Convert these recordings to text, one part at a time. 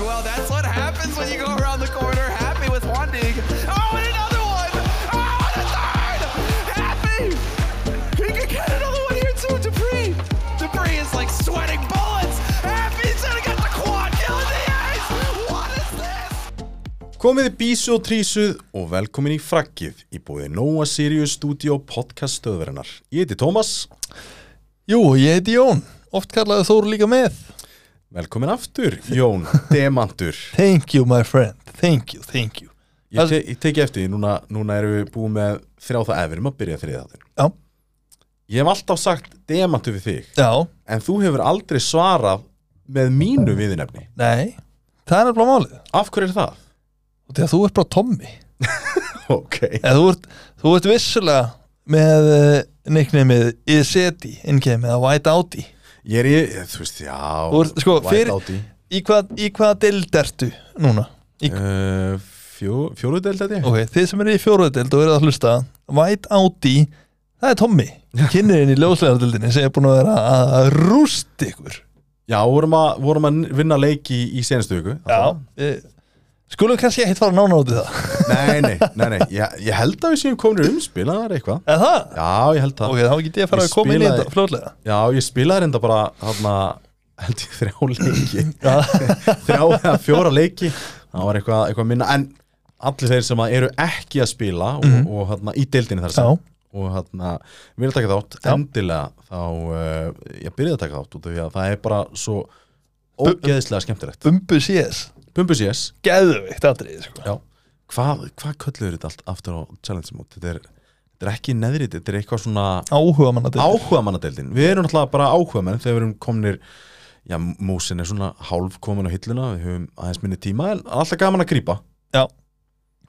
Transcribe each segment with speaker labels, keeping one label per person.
Speaker 1: well, that's what happens when you go around the corner happy with one dig. Oh, and another one! Oh, and a third! Happy! He could get another one here too, Dupree! Dupree is like sweating bullets! Happy's gonna get the quad kill in the ice! What is this?
Speaker 2: Komiði bísu og trísuð og velkomin í frakkið í bóði Nóa Sirius Studio podcast stöðverðinar. Ég heiti Tómas,
Speaker 3: Jú, ég heiti Jón, oft kallaði Þór líka með
Speaker 2: velkomin aftur, Jón Demantur.
Speaker 3: Thank you my friend, thank you, thank you
Speaker 2: Ég, te ég teki eftir því, núna, núna erum við búið með þrjá það efurum að byrja þriðið þáttin.
Speaker 3: Já,
Speaker 2: Ég hef alltaf sagt Demantur við þig,
Speaker 3: já,
Speaker 2: en þú hefur aldrei svarað með mínu viðinefni.
Speaker 3: nei, það er nefnilega málið
Speaker 2: Af hverju er það?
Speaker 3: og því að þú ert bara Tommy
Speaker 2: Ok.
Speaker 3: Eða, þú, ert, þú ert vissulega með uh, nicknameið Iseti innkeimið að White Audi
Speaker 2: Ég er í, þú veist, já,
Speaker 3: Þú ert, sko,
Speaker 2: white
Speaker 3: fyrir-
Speaker 2: out í.
Speaker 3: Í hvað, í hvað deild ertu núna? Í,
Speaker 2: Uh, fjó, fjóruðdeild þetta ég?
Speaker 3: Ok, þið sem eru í fjóruðu deild og eru að hlusta White Audi, það er Tommy Kynniðin í ljóslegardeldinni sem er búin að vera að- að rúst ykkur
Speaker 2: Já, vorum að, vorum að vinna leiki í, í senastu viku.
Speaker 3: Já eh, Skulum kannski ekkert fara nána út í það
Speaker 2: Nei, nei, nei, nei. Ég, ég held að við séum komin umspil, það er eitthvað
Speaker 3: Er það?
Speaker 2: Já, ég held það
Speaker 3: Ok, þá get ég að fara
Speaker 2: Ég
Speaker 3: að koma inn í
Speaker 2: spilaði-
Speaker 3: þetta fljóðlega
Speaker 2: Já, ég spilaði reynda bara hana, held ég þrjá leiki þrjá eða fjóra leiki það var eitthvað, eitthvað minna en allir þeir sem að eru ekki að spila og, og hana, í deildinni þar sem
Speaker 3: Mhm. Já.
Speaker 2: og hana, vilja taka þátt
Speaker 3: Já.
Speaker 2: endilega þá, uh, ég byrjaði að taka þátt út af því að það er bara svo ógeðislega skemmtilegt
Speaker 3: Bumbu CS
Speaker 2: Bumbus yes
Speaker 3: Geðvikt atrið sko.
Speaker 2: Já, hvað, hvað kölluður þetta allt aftur á challenge mót? Þetta er, þetta er ekki neðrið, þetta er eitthvað svona
Speaker 3: Áhuga manna til
Speaker 2: áhugamannadeildin. Við erum náttúrulega bara áhugamenn þegar við erum komnir, já, músin er svona hálf komin á hilluna, við höfum aðeins minni tíma en alltaf gaman að grípa.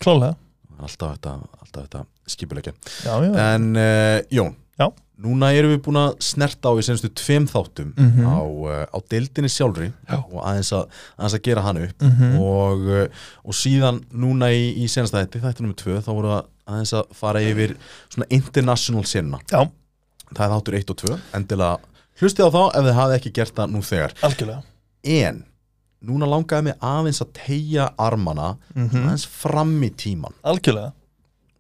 Speaker 3: Klálega
Speaker 2: Alltaf þetta, alltaf þetta skipulegja.
Speaker 3: Já, já
Speaker 2: En uh, Jón,
Speaker 3: Já.
Speaker 2: núna erum við búin að snerta á í senstu tveim þáttum
Speaker 3: Mhm.
Speaker 2: á, uh, á deildinni sjálfri
Speaker 3: Já.
Speaker 2: og aðeins að, aðeins að gera hann upp
Speaker 3: mm
Speaker 2: og, uh, og síðan núna í, í senasta þetta, þetta nummer 2 þá voru það aðeins að fara yfir svona international senna,
Speaker 3: Já,
Speaker 2: það er þáttur 1 og 2 endilega hlustið á þá ef þið hafið ekki gert það nú þegar,
Speaker 3: algjörlega
Speaker 2: en núna langaði mig aðeins að tegja armana
Speaker 3: mm
Speaker 2: aðeins fram í tíman,
Speaker 3: Algjörlega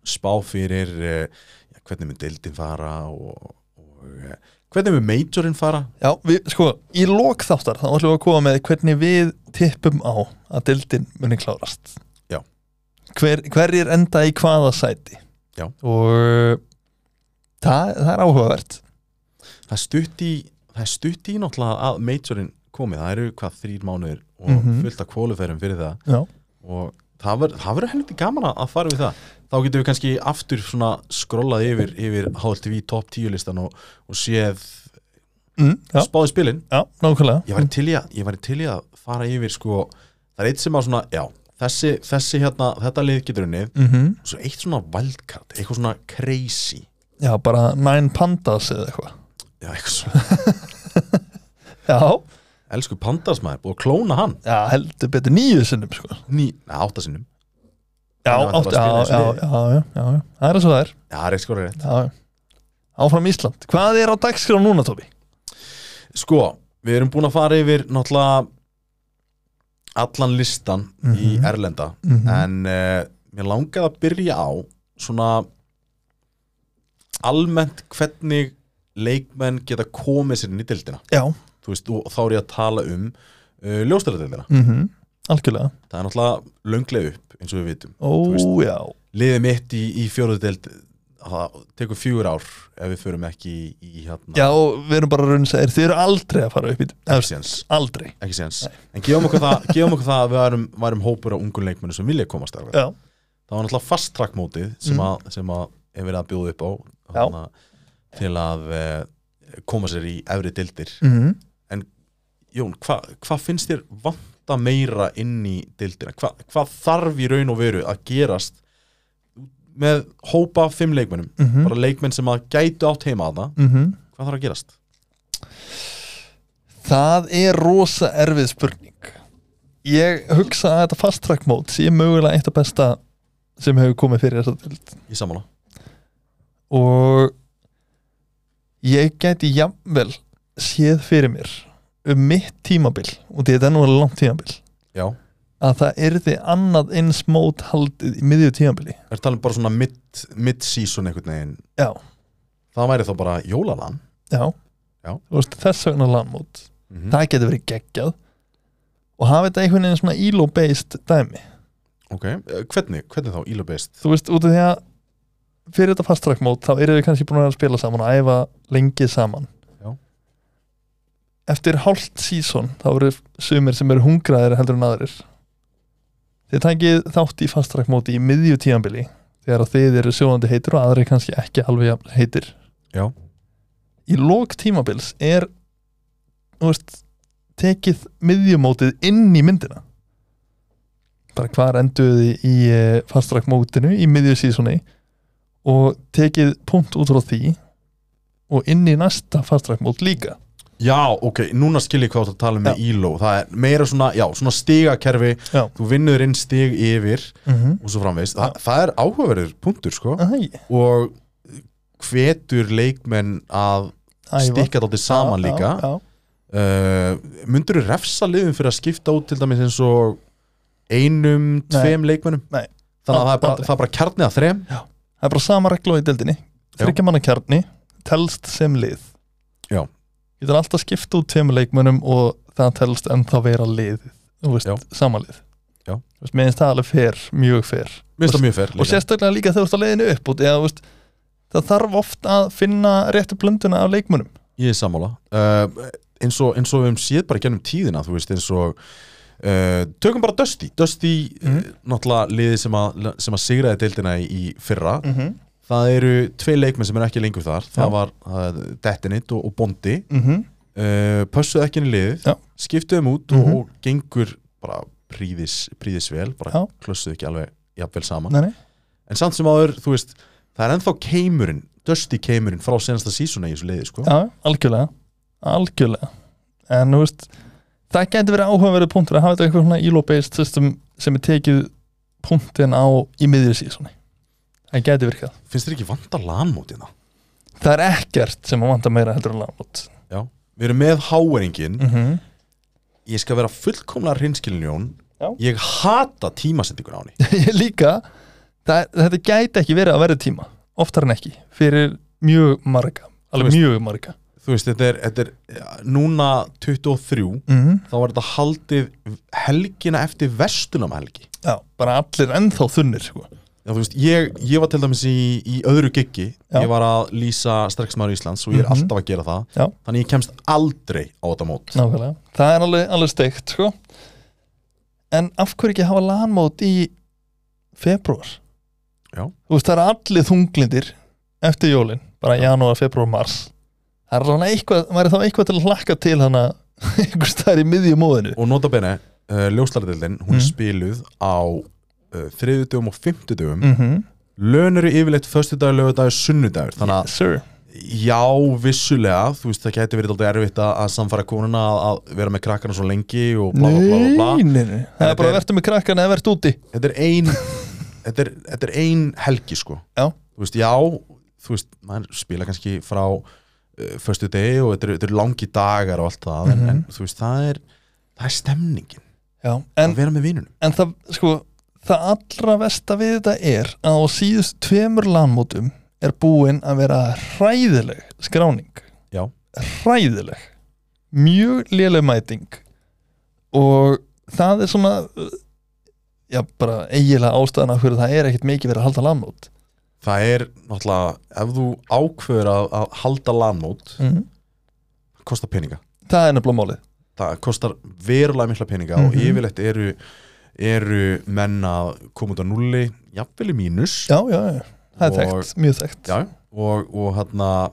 Speaker 2: spá fyrir uh, já, hvernig mun deildin fara og, og uh, hvernig mun majorinn fara
Speaker 3: Já, við, sko, í lok þáttar þá ætlum við að koma með hvernig við tippum á að dildin muni klárast
Speaker 2: Já.
Speaker 3: Hver, Hverjir enda í hvaða sæti
Speaker 2: Já.
Speaker 3: Og það, það er áhugavert
Speaker 2: það er stutt í það er stutt í náttúrulega að majorinn komið, það eru hvað þrýr mánuðir og
Speaker 3: Mhm.
Speaker 2: fullt að kvóluferðum fyrir það
Speaker 3: Já
Speaker 2: og það verður- það verður helviti gaman að- að fara við það þá getum við kannski aftur svona skrollað yfir, yfir HLTV top 10 listan og, og séð
Speaker 3: mm, Já, Mm.
Speaker 2: spáði spilin
Speaker 3: já, nákvæmlega
Speaker 2: ég væri til í að, ég væri til í að fara yfir sko, það er eitt sem að svona, já þessi, þessi hérna, þetta lið getur unnið
Speaker 3: mm
Speaker 2: og svo eitt svona wildcard, eitthvað svona crazy
Speaker 3: Já, bara Nine Pandas eða eitthvað
Speaker 2: já, eitthvað svona,
Speaker 3: Já,
Speaker 2: elsku pandasmaður búið að klóna hann,
Speaker 3: já, heldur betur nýju sinnum sko
Speaker 2: ný, neða áttasinnum
Speaker 3: Já,
Speaker 2: Já,
Speaker 3: átt,
Speaker 2: það
Speaker 3: já,
Speaker 2: var að
Speaker 3: já,
Speaker 2: spila
Speaker 3: já, já, já, já, það er eins og það er
Speaker 2: já, það er eitthvað rétt
Speaker 3: já, já. Áfram Ísland, hvað er á dagskrá núna Tóbi?
Speaker 2: Sko, við erum búin að fara yfir náttúrulega allan listan í
Speaker 3: Mhm.
Speaker 2: Erlenda
Speaker 3: Mhm.
Speaker 2: en uh, mér langaði að byrja á svona almennt hvernig leikmenn geta komið sér inn í dildina
Speaker 3: Já,
Speaker 2: þú veist, og þá er ég að tala um uh, ljóstæðardildina,
Speaker 3: mm algjörlega
Speaker 2: það er náttúrulega lönglega upp eins og við vitum,
Speaker 3: Ó,
Speaker 2: Þú veist.
Speaker 3: já,
Speaker 2: liðið mitt í, í fjóruðdild það tekur fjúur ár ef við förum ekki í, í hérna
Speaker 3: já, við erum bara að runsa þér Þið eru aldrei að fara upp í efst,
Speaker 2: séns.
Speaker 3: Aldrei,
Speaker 2: ekki séns en gefum okkur það, gefum okkur það að við varum, varum hópur á ungu leikmennu sem vilja komast þar það
Speaker 3: já, Mm.
Speaker 2: var náttúrulega fast track mótið sem, að, sem að hefur verið að bjóða upp á
Speaker 3: Já.
Speaker 2: hana, til að eh, koma sér í efri dildir
Speaker 3: mm
Speaker 2: Jón, hvað hva finnst þér vanta meira inn í dildina Hva- hvað þarf í raun og veru að gerast með hópa af fimm leikmennum
Speaker 3: Mhm.
Speaker 2: bara leikmenn sem að gætu átt heima að það
Speaker 3: mm
Speaker 2: hvað þarf að gerast?
Speaker 3: Það er rosa erfið spurning Ég hugsa að þetta fast track mode sé mögulega eitt af besta sem hefur komið fyrir þessa dild
Speaker 2: Ég sammála
Speaker 3: og ég gæti jafnvel séð fyrir mér um mitt tímabil og þetta er nú alveg langt tímabil
Speaker 2: Já,
Speaker 3: að það yrði annað eins mót haldið í miðju tímabili
Speaker 2: er talað um bara svona mid- mid-season einhvern veginn
Speaker 3: já,
Speaker 2: það væri þá bara jólalan
Speaker 3: já,
Speaker 2: Já.
Speaker 3: Þú veist, þess vegna landmót
Speaker 2: Mhm.
Speaker 3: það getur verið geggjað og hafa þetta einhvern veginn svona íló-based dæmi
Speaker 2: ok, Eh, hvernig, hvernig þá ílubist
Speaker 3: þú veist, út af því að fyrir þetta fast track mót, þá eru við kannski búin að vera að spila saman og æfa lengi saman
Speaker 2: Já.
Speaker 3: eftir hálft sísón, þá eru sumir sem eru hungraðir heldur en aðrir þið takið þátt í fast track móti í miðju tíambili, þegar að þið eru sjóðandi heitir og aðrir kannski ekki alveg jafn heitir
Speaker 2: Já.
Speaker 3: í lok tímabils er þú veist, tekið miðjumótið inn í myndina bara hvar enduði í fastrak mótinu í miðju sísoni og tekið punkt út frá því og inn í næsta fastrak mót líka
Speaker 2: já, ok, núna skil ég hvað þú ert að tala um með íló það er meira svona, já, svona stigakerfi
Speaker 3: Já.
Speaker 2: þú vinnur inn stig yfir
Speaker 3: mm -hmm.
Speaker 2: og svo framvegis, Þa, það er áhugaverður punktur sko,
Speaker 3: Æ,
Speaker 2: og hvetur leikmenn að stikka þetta saman líka
Speaker 3: já, já.
Speaker 2: Uh, myndur þú refsa liðum fyrir að skipta út til dæmis eins og einum, tveim leikmennum
Speaker 3: Nei.
Speaker 2: þannig að það er bara,
Speaker 3: Aldrei.
Speaker 2: það er bara kjarnið að þrem
Speaker 3: það er bara sama regla á í deildinni
Speaker 2: Já.
Speaker 3: þryggja manna kjarni, telst sem lið
Speaker 2: Já.
Speaker 3: getur alltaf skipt út tveim leikmönnum og það telst ennþá vera lið þú veist,
Speaker 2: Já.
Speaker 3: sama lið
Speaker 2: Já.
Speaker 3: Þú veist, mér finnst það alveg fer, mjög fer
Speaker 2: minnst það mjög fer
Speaker 3: og sérstaklega líka þegar þú ert að leiðinu upp út, eða, þú veist, það þarf oft að finna réttu blönduna af leikmönnum
Speaker 2: ég er sammála uh, eins, og, eins og við höfum séð bara gennum tíðina þú veist eins og uh, tökum bara Dusty Dusty, mm. náttúrulega liðið sem að, sem að sigraði deildina í, í fyrra
Speaker 3: -hmm.
Speaker 2: það eru tvei leikmenn sem er ekki lengur þar
Speaker 3: Já.
Speaker 2: það var uh, Dettinit og, og Bondi
Speaker 3: Mm -hmm.
Speaker 2: uh, pössuðu ekki inn í liðið
Speaker 3: Já.
Speaker 2: skiptuðu þeim út
Speaker 3: Mhm.
Speaker 2: og gengur bara príðis, príðis vel bara
Speaker 3: Já.
Speaker 2: klössuðu ekki alveg jafnvel saman
Speaker 3: Nei, nei.
Speaker 2: en samt sem áður, þú veist það er ennþá keimurinn, dusty keimurinn frá senasta sísona í þessu liði, sko
Speaker 3: Já, algjörlega algjörlega en þú veist, það getur verið áhugaverið punktur að hafa þetta eitthvað svona ílóbeist system sem er tekið punktin á í miðjur síðan það getur virkað
Speaker 2: finnst þér ekki vanda lanmótina?
Speaker 3: það er ekkert sem að vanta meira heldur en lámót
Speaker 2: Já, við erum með háeringin
Speaker 3: mm -hmm.
Speaker 2: ég skal vera fullkomlega hreinskilin Jón
Speaker 3: Já.
Speaker 2: ég hata tímasendingur á henni
Speaker 3: líka það, þetta gæti ekki verið að verða tíma oftar en ekki, fyrir mjög marga alveg
Speaker 2: Þú
Speaker 3: mjög marga
Speaker 2: þú veist, þetta er, þetta er ja, núna 23,
Speaker 3: mm -hmm.
Speaker 2: þá var þetta haldið helgina eftir vestunum helgi
Speaker 3: Já, bara allir ennþá þunnir sko.
Speaker 2: Já, þú veist, ég, ég var til dæmis í, í öðru giggi,
Speaker 3: Já.
Speaker 2: ég var að lýsa sterksmaður Íslands og ég er
Speaker 3: Mhm.
Speaker 2: alltaf að gera það
Speaker 3: Já.
Speaker 2: þannig ég kemst aldrei á þetta mót
Speaker 3: Nákvæmlega, það er alveg, alveg steikt sko. En af hverju ekki hafa lanmót í februar?
Speaker 2: Já.
Speaker 3: Þú veist, það eru allir þunglindir eftir jólin, bara janúar, februar, mars Það er svona eitthvað, væri þá eitthvað til að hlakka til hana einhvers staðar í miðjum móðinu
Speaker 2: og nota bene, uh, ljóslardeildin hún
Speaker 3: Mm.
Speaker 2: er spiluð á uh, þriðudögum og fimmtudögum mm.
Speaker 3: mm -hmm.
Speaker 2: lön eru yfirleitt föstudagur, lögudagur, sunnudagur þannig að
Speaker 3: Sir,
Speaker 2: já, vissulega þú veist, það gæti verið alltaf erfitt að, að samfara konuna að, að vera með krakkana svo lengi og bla bla bla, bla, bla.
Speaker 3: nei, nei, nei Það
Speaker 2: Þetta
Speaker 3: er bara
Speaker 2: er-
Speaker 3: að verða með krakkan eða verða úti
Speaker 2: þetta er ein þetta, er, þetta er ein helgi sko
Speaker 3: Já.
Speaker 2: þú veist, já, þú veist, maður spila kannski frá uh, föstu degi og þetta eru þetta er langi dagar og allt það
Speaker 3: Mhm.
Speaker 2: en, en þú veist, það er það er stemningin,
Speaker 3: Já, en
Speaker 2: að vera með vinunum
Speaker 3: en það, sko, það allra versta við þetta er að á síðust tveimur landmótum er búin að vera hræðileg skráning
Speaker 2: Já.
Speaker 3: hræðileg mjög léleg mæting og það er svona uh, já, bara eiginlega ástæðan af hverju það er ekkert mikið verið að halda landmót
Speaker 2: það er náttúrulega, ef þú ákveður að, að halda lanmót
Speaker 3: mm -hmm.
Speaker 2: kostar peninga,
Speaker 3: það er nefnilega málið
Speaker 2: það kostar verulega mikla peninga og
Speaker 3: Mhm.
Speaker 2: yfirleitt eru eru menn að koma út á nulli jafnvel í mínus
Speaker 3: já, já, já, það er
Speaker 2: Og-
Speaker 3: þekkt, mjög þekkt
Speaker 2: Já, og, og hérna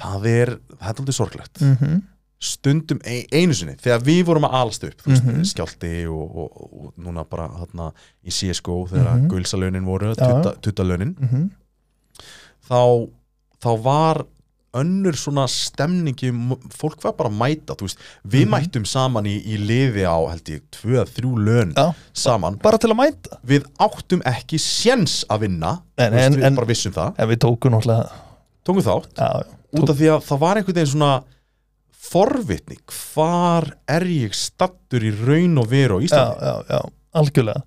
Speaker 2: það er, þetta er aldrei sorglegt
Speaker 3: mm -hmm.
Speaker 2: stundum ein, einu sinni þegar við vorum að alast upp þú veist,
Speaker 3: Mhm.
Speaker 2: skjálti og, og, og núna bara þarna, í CSGO þegar mm
Speaker 3: Mhm.
Speaker 2: gulsalönin voru,
Speaker 3: Já. Mhm.
Speaker 2: tutta- tuttalönin þá, þá var önnur svona stemningi fólk var bara að mæta þú veist, við
Speaker 3: Mhm.
Speaker 2: mættum saman í, í liði á held ég, tvö að þrjú lön
Speaker 3: Já.
Speaker 2: saman,
Speaker 3: bara til að mæta
Speaker 2: við áttum ekki séns að vinna,
Speaker 3: En-
Speaker 2: Þú
Speaker 3: en-
Speaker 2: við
Speaker 3: en-
Speaker 2: bara vissum það
Speaker 3: en við tókum náttúrulega
Speaker 2: tókum þátt
Speaker 3: já, já,
Speaker 2: út af því að það var einhvern veginn svona forvitni hvar er ég stattur í raun og veru á
Speaker 3: já,
Speaker 2: Íslandi
Speaker 3: já, já, algjörlega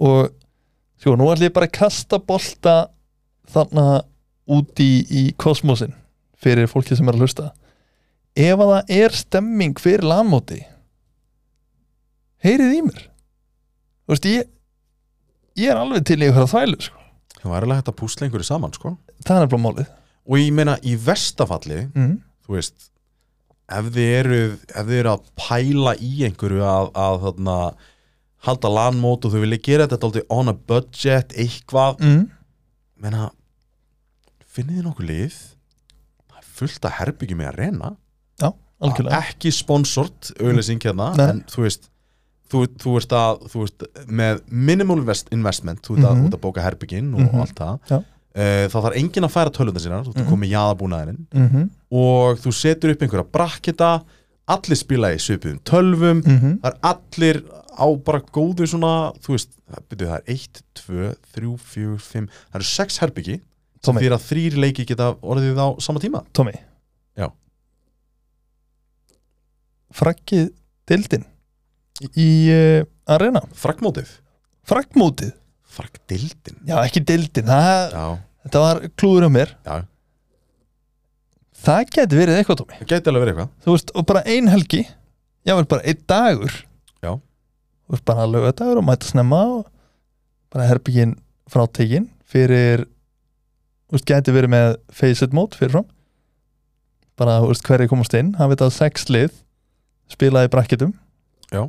Speaker 3: og sko, nú ætlum ég bara að kasta bolta þarna úti í kosmosin fyrir fólki sem er að hlusta ef að það er stemming fyrir landmóti heyrið í mér þú veist, ég ég er alveg til í einhverja þvælu sko.
Speaker 2: það var alveg hægt að púsla einhverju saman sko.
Speaker 3: það er bara málið
Speaker 2: og ég meina í vestafalli
Speaker 3: mm.
Speaker 2: þú veist ef þið eru, ef þið eru að pæla í einhverju að, að þarna, halda landmót og þau vilja gera þetta dálítið on a budget, eitthvað
Speaker 3: Mm.
Speaker 2: menna, finnið þið nokkuð lið það er fullt að herbyggjum í að reyna
Speaker 3: já, algjörlega
Speaker 2: ekki sponsort auðlýsing hérna
Speaker 3: Nei.
Speaker 2: en þú veist þú, þú ert að, þú ert með minimal invest, investment, þú ert að,
Speaker 3: Mhm.
Speaker 2: mm að bóka herbygginn og
Speaker 3: Mhm.
Speaker 2: allt það
Speaker 3: Já.
Speaker 2: uh, þá þarf enginn að færa tölvundan sína þú ert að
Speaker 3: Mhm.
Speaker 2: koma í jaðabúnaðurinn
Speaker 3: mm -hmm.
Speaker 2: og þú setur upp einhverja brakketa allir spila í svipuðum tölvum
Speaker 3: Mhm. mm-hmm.
Speaker 2: það er allir á bara góðu svona, þú veist, byrju, það er 1, 2, 3, 4, 5 það eru 6 herbyggi sem
Speaker 3: Tommy.
Speaker 2: fyrir að þrýr leiki geta orðið á sama tíma
Speaker 3: Tommy
Speaker 2: Já.
Speaker 3: Frakkið dildin í uh, arena
Speaker 2: frakkmótið,
Speaker 3: Frakkmótið
Speaker 2: frakkdildin
Speaker 3: Já, ekki dildin, það,
Speaker 2: já,
Speaker 3: þetta var klúður á mér
Speaker 2: já,
Speaker 3: Það geti verið eitthvað Tommy
Speaker 2: það gæti alveg verið eitthvað
Speaker 3: Þú veist, og bara ein helgi Já, vel bara einn dagur
Speaker 2: Já.
Speaker 3: Þú veist, bara lögadagur og mæta snemma og bara herbygginn frátekinn fyrir Þú veist, geti verið með face it mót fyrir fram Bara, þú veist, hverju komast inn Hann veit að sex lið spilaði í brakketum
Speaker 2: Já.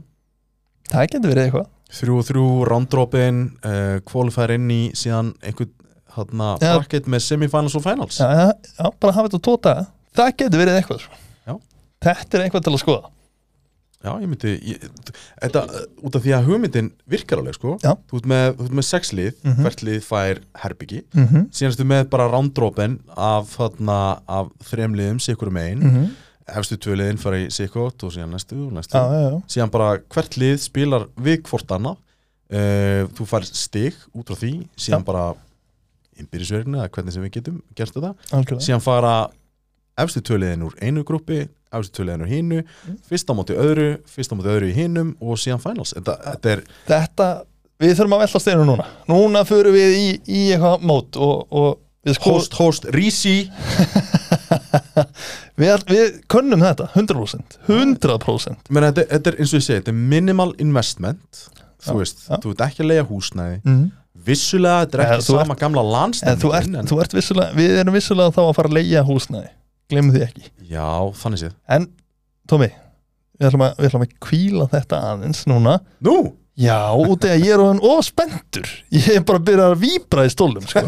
Speaker 3: Það geti verið eitthvað
Speaker 2: þrjú og þrjú, rounddropin uh, kvalifær inn í síðan einhvern hana,
Speaker 3: Já.
Speaker 2: bracket með semifinals og finals
Speaker 3: já, já, já, bara hafa þetta á tóta það getur verið eitthvað sko.
Speaker 2: Já.
Speaker 3: þetta er eitthvað til að skoða
Speaker 2: Já, ég myndi ég, Þetta, uh, út af því að hugmyndin virkar alveg sko
Speaker 3: Já.
Speaker 2: Þú ert með, þú ert með sex lið,
Speaker 3: Mhm.
Speaker 2: hvert lið fær herbyggi
Speaker 3: mm -hmm.
Speaker 2: Síðan ertu með bara rándrópen af, þarna, af þrem liðum, sikkur um
Speaker 3: Mhm.
Speaker 2: ein Hefstu tvö liðin fara í sikkot og síðan næstu og næstu
Speaker 3: já, já, já,
Speaker 2: Síðan bara hvert lið spilar við hvort annað uh, Þú fær stig út frá því Síðan
Speaker 3: Já.
Speaker 2: bara innbyrðisverðinu eða hvernig sem við getum gert þetta
Speaker 3: algjörlega
Speaker 2: síðan fara efstu töliðin úr einu grúpi efstu töliðin úr hinu,
Speaker 3: Mm.
Speaker 2: fyrst á móti öðru fyrst á móti öðru í hinum og síðan finals þetta, þetta er,
Speaker 3: þetta, við þurfum að velta steinu núna núna förum við í, í eitthvað mót og, og við sko
Speaker 2: host, host, risi
Speaker 3: við, við könnum þetta 100% 100%
Speaker 2: menn þetta, þetta er eins og ég segi, þetta er minimal investment þú
Speaker 3: Já,
Speaker 2: veist,
Speaker 3: já.
Speaker 2: þú ert ekki að leiða húsnæði
Speaker 3: mm.
Speaker 2: vissulega, þetta er
Speaker 3: Eða
Speaker 2: ekki
Speaker 3: þú
Speaker 2: sama gamla
Speaker 3: en þú ert,
Speaker 2: landstændin
Speaker 3: þú ert vissulega við erum vissulega þá að fara að leigja húsnæði glemum því ekki
Speaker 2: já, þannig séð
Speaker 3: en Tómi, við ætlum að, við ætlum að kvíla þetta aðeins núna
Speaker 2: nú,
Speaker 3: Já, út af að ég er orðin ofspendur Ég er bara að byrja að víbra í stólum sko.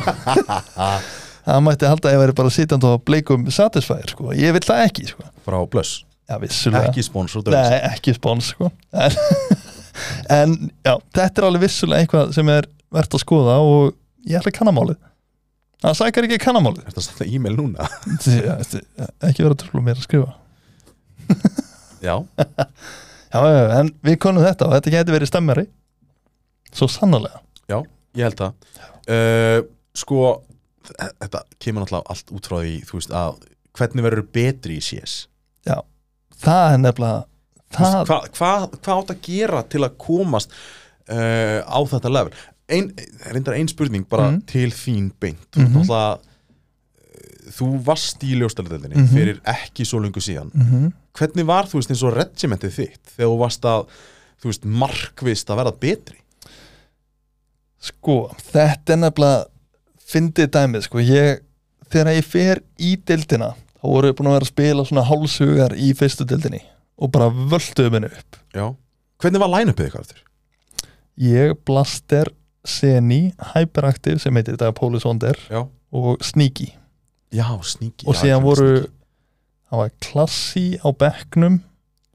Speaker 3: Það mætti halda að ég væri bara sitjandi á bleikum satisfæðir sko. Ég vil það ekki sko.
Speaker 2: frá blöss
Speaker 3: Já, vissulega
Speaker 2: ekki sponsor
Speaker 3: Nei, ekki spons sko. en, en já, þetta er alveg vissulega eitthvað sem er verðt að skoða og ég ætla að kanna málið Það sækar ekki að kanna málið
Speaker 2: er þetta að senda e-mail núna?
Speaker 3: Já, þetta- Ekki vera að trúla mér að skrifa
Speaker 2: já,
Speaker 3: Já, já, já, en við konum þetta og þetta geti verið stemmari Svo sannarlega
Speaker 2: Já, ég held það uh, Sko, þ- þetta kemur náttúrulega allt út frá því Þú veist að hvernig verður betri í CS
Speaker 3: Það er nefnilega
Speaker 2: Þú veist,
Speaker 3: það-
Speaker 2: Hvað hva, hva átt að gera til að komast uh, á þetta level ein, Reyndar ein spurning bara
Speaker 3: Mhm.
Speaker 2: til þín beint Þú
Speaker 3: Mhm.
Speaker 2: -hmm. náttúrulega eh, Þú varst í ljóstælideldinni
Speaker 3: Mhm.
Speaker 2: fyrir ekki svo lengu síðan
Speaker 3: mm -hmm.
Speaker 2: Hvernig var þú veist eins og regimentið þitt þegar þú varst að þú veist markvist að verða betri
Speaker 3: Sko, þetta er nefnilega fyndið dæmið, sko, ég þegar ég fer í deildina þá voru ég búin að vera að spila svona hálshugar í fyrstu deildinni og bara völduðu minni upp
Speaker 2: Já Hvernig var line-upið eitthvað eftir?
Speaker 3: ég blaster Seni, Hyperactive sem heitir þetta Póli Sonder
Speaker 2: Já
Speaker 3: og Sneaky
Speaker 2: Já, sníki
Speaker 3: og síðan voru það var Klassi á bekknum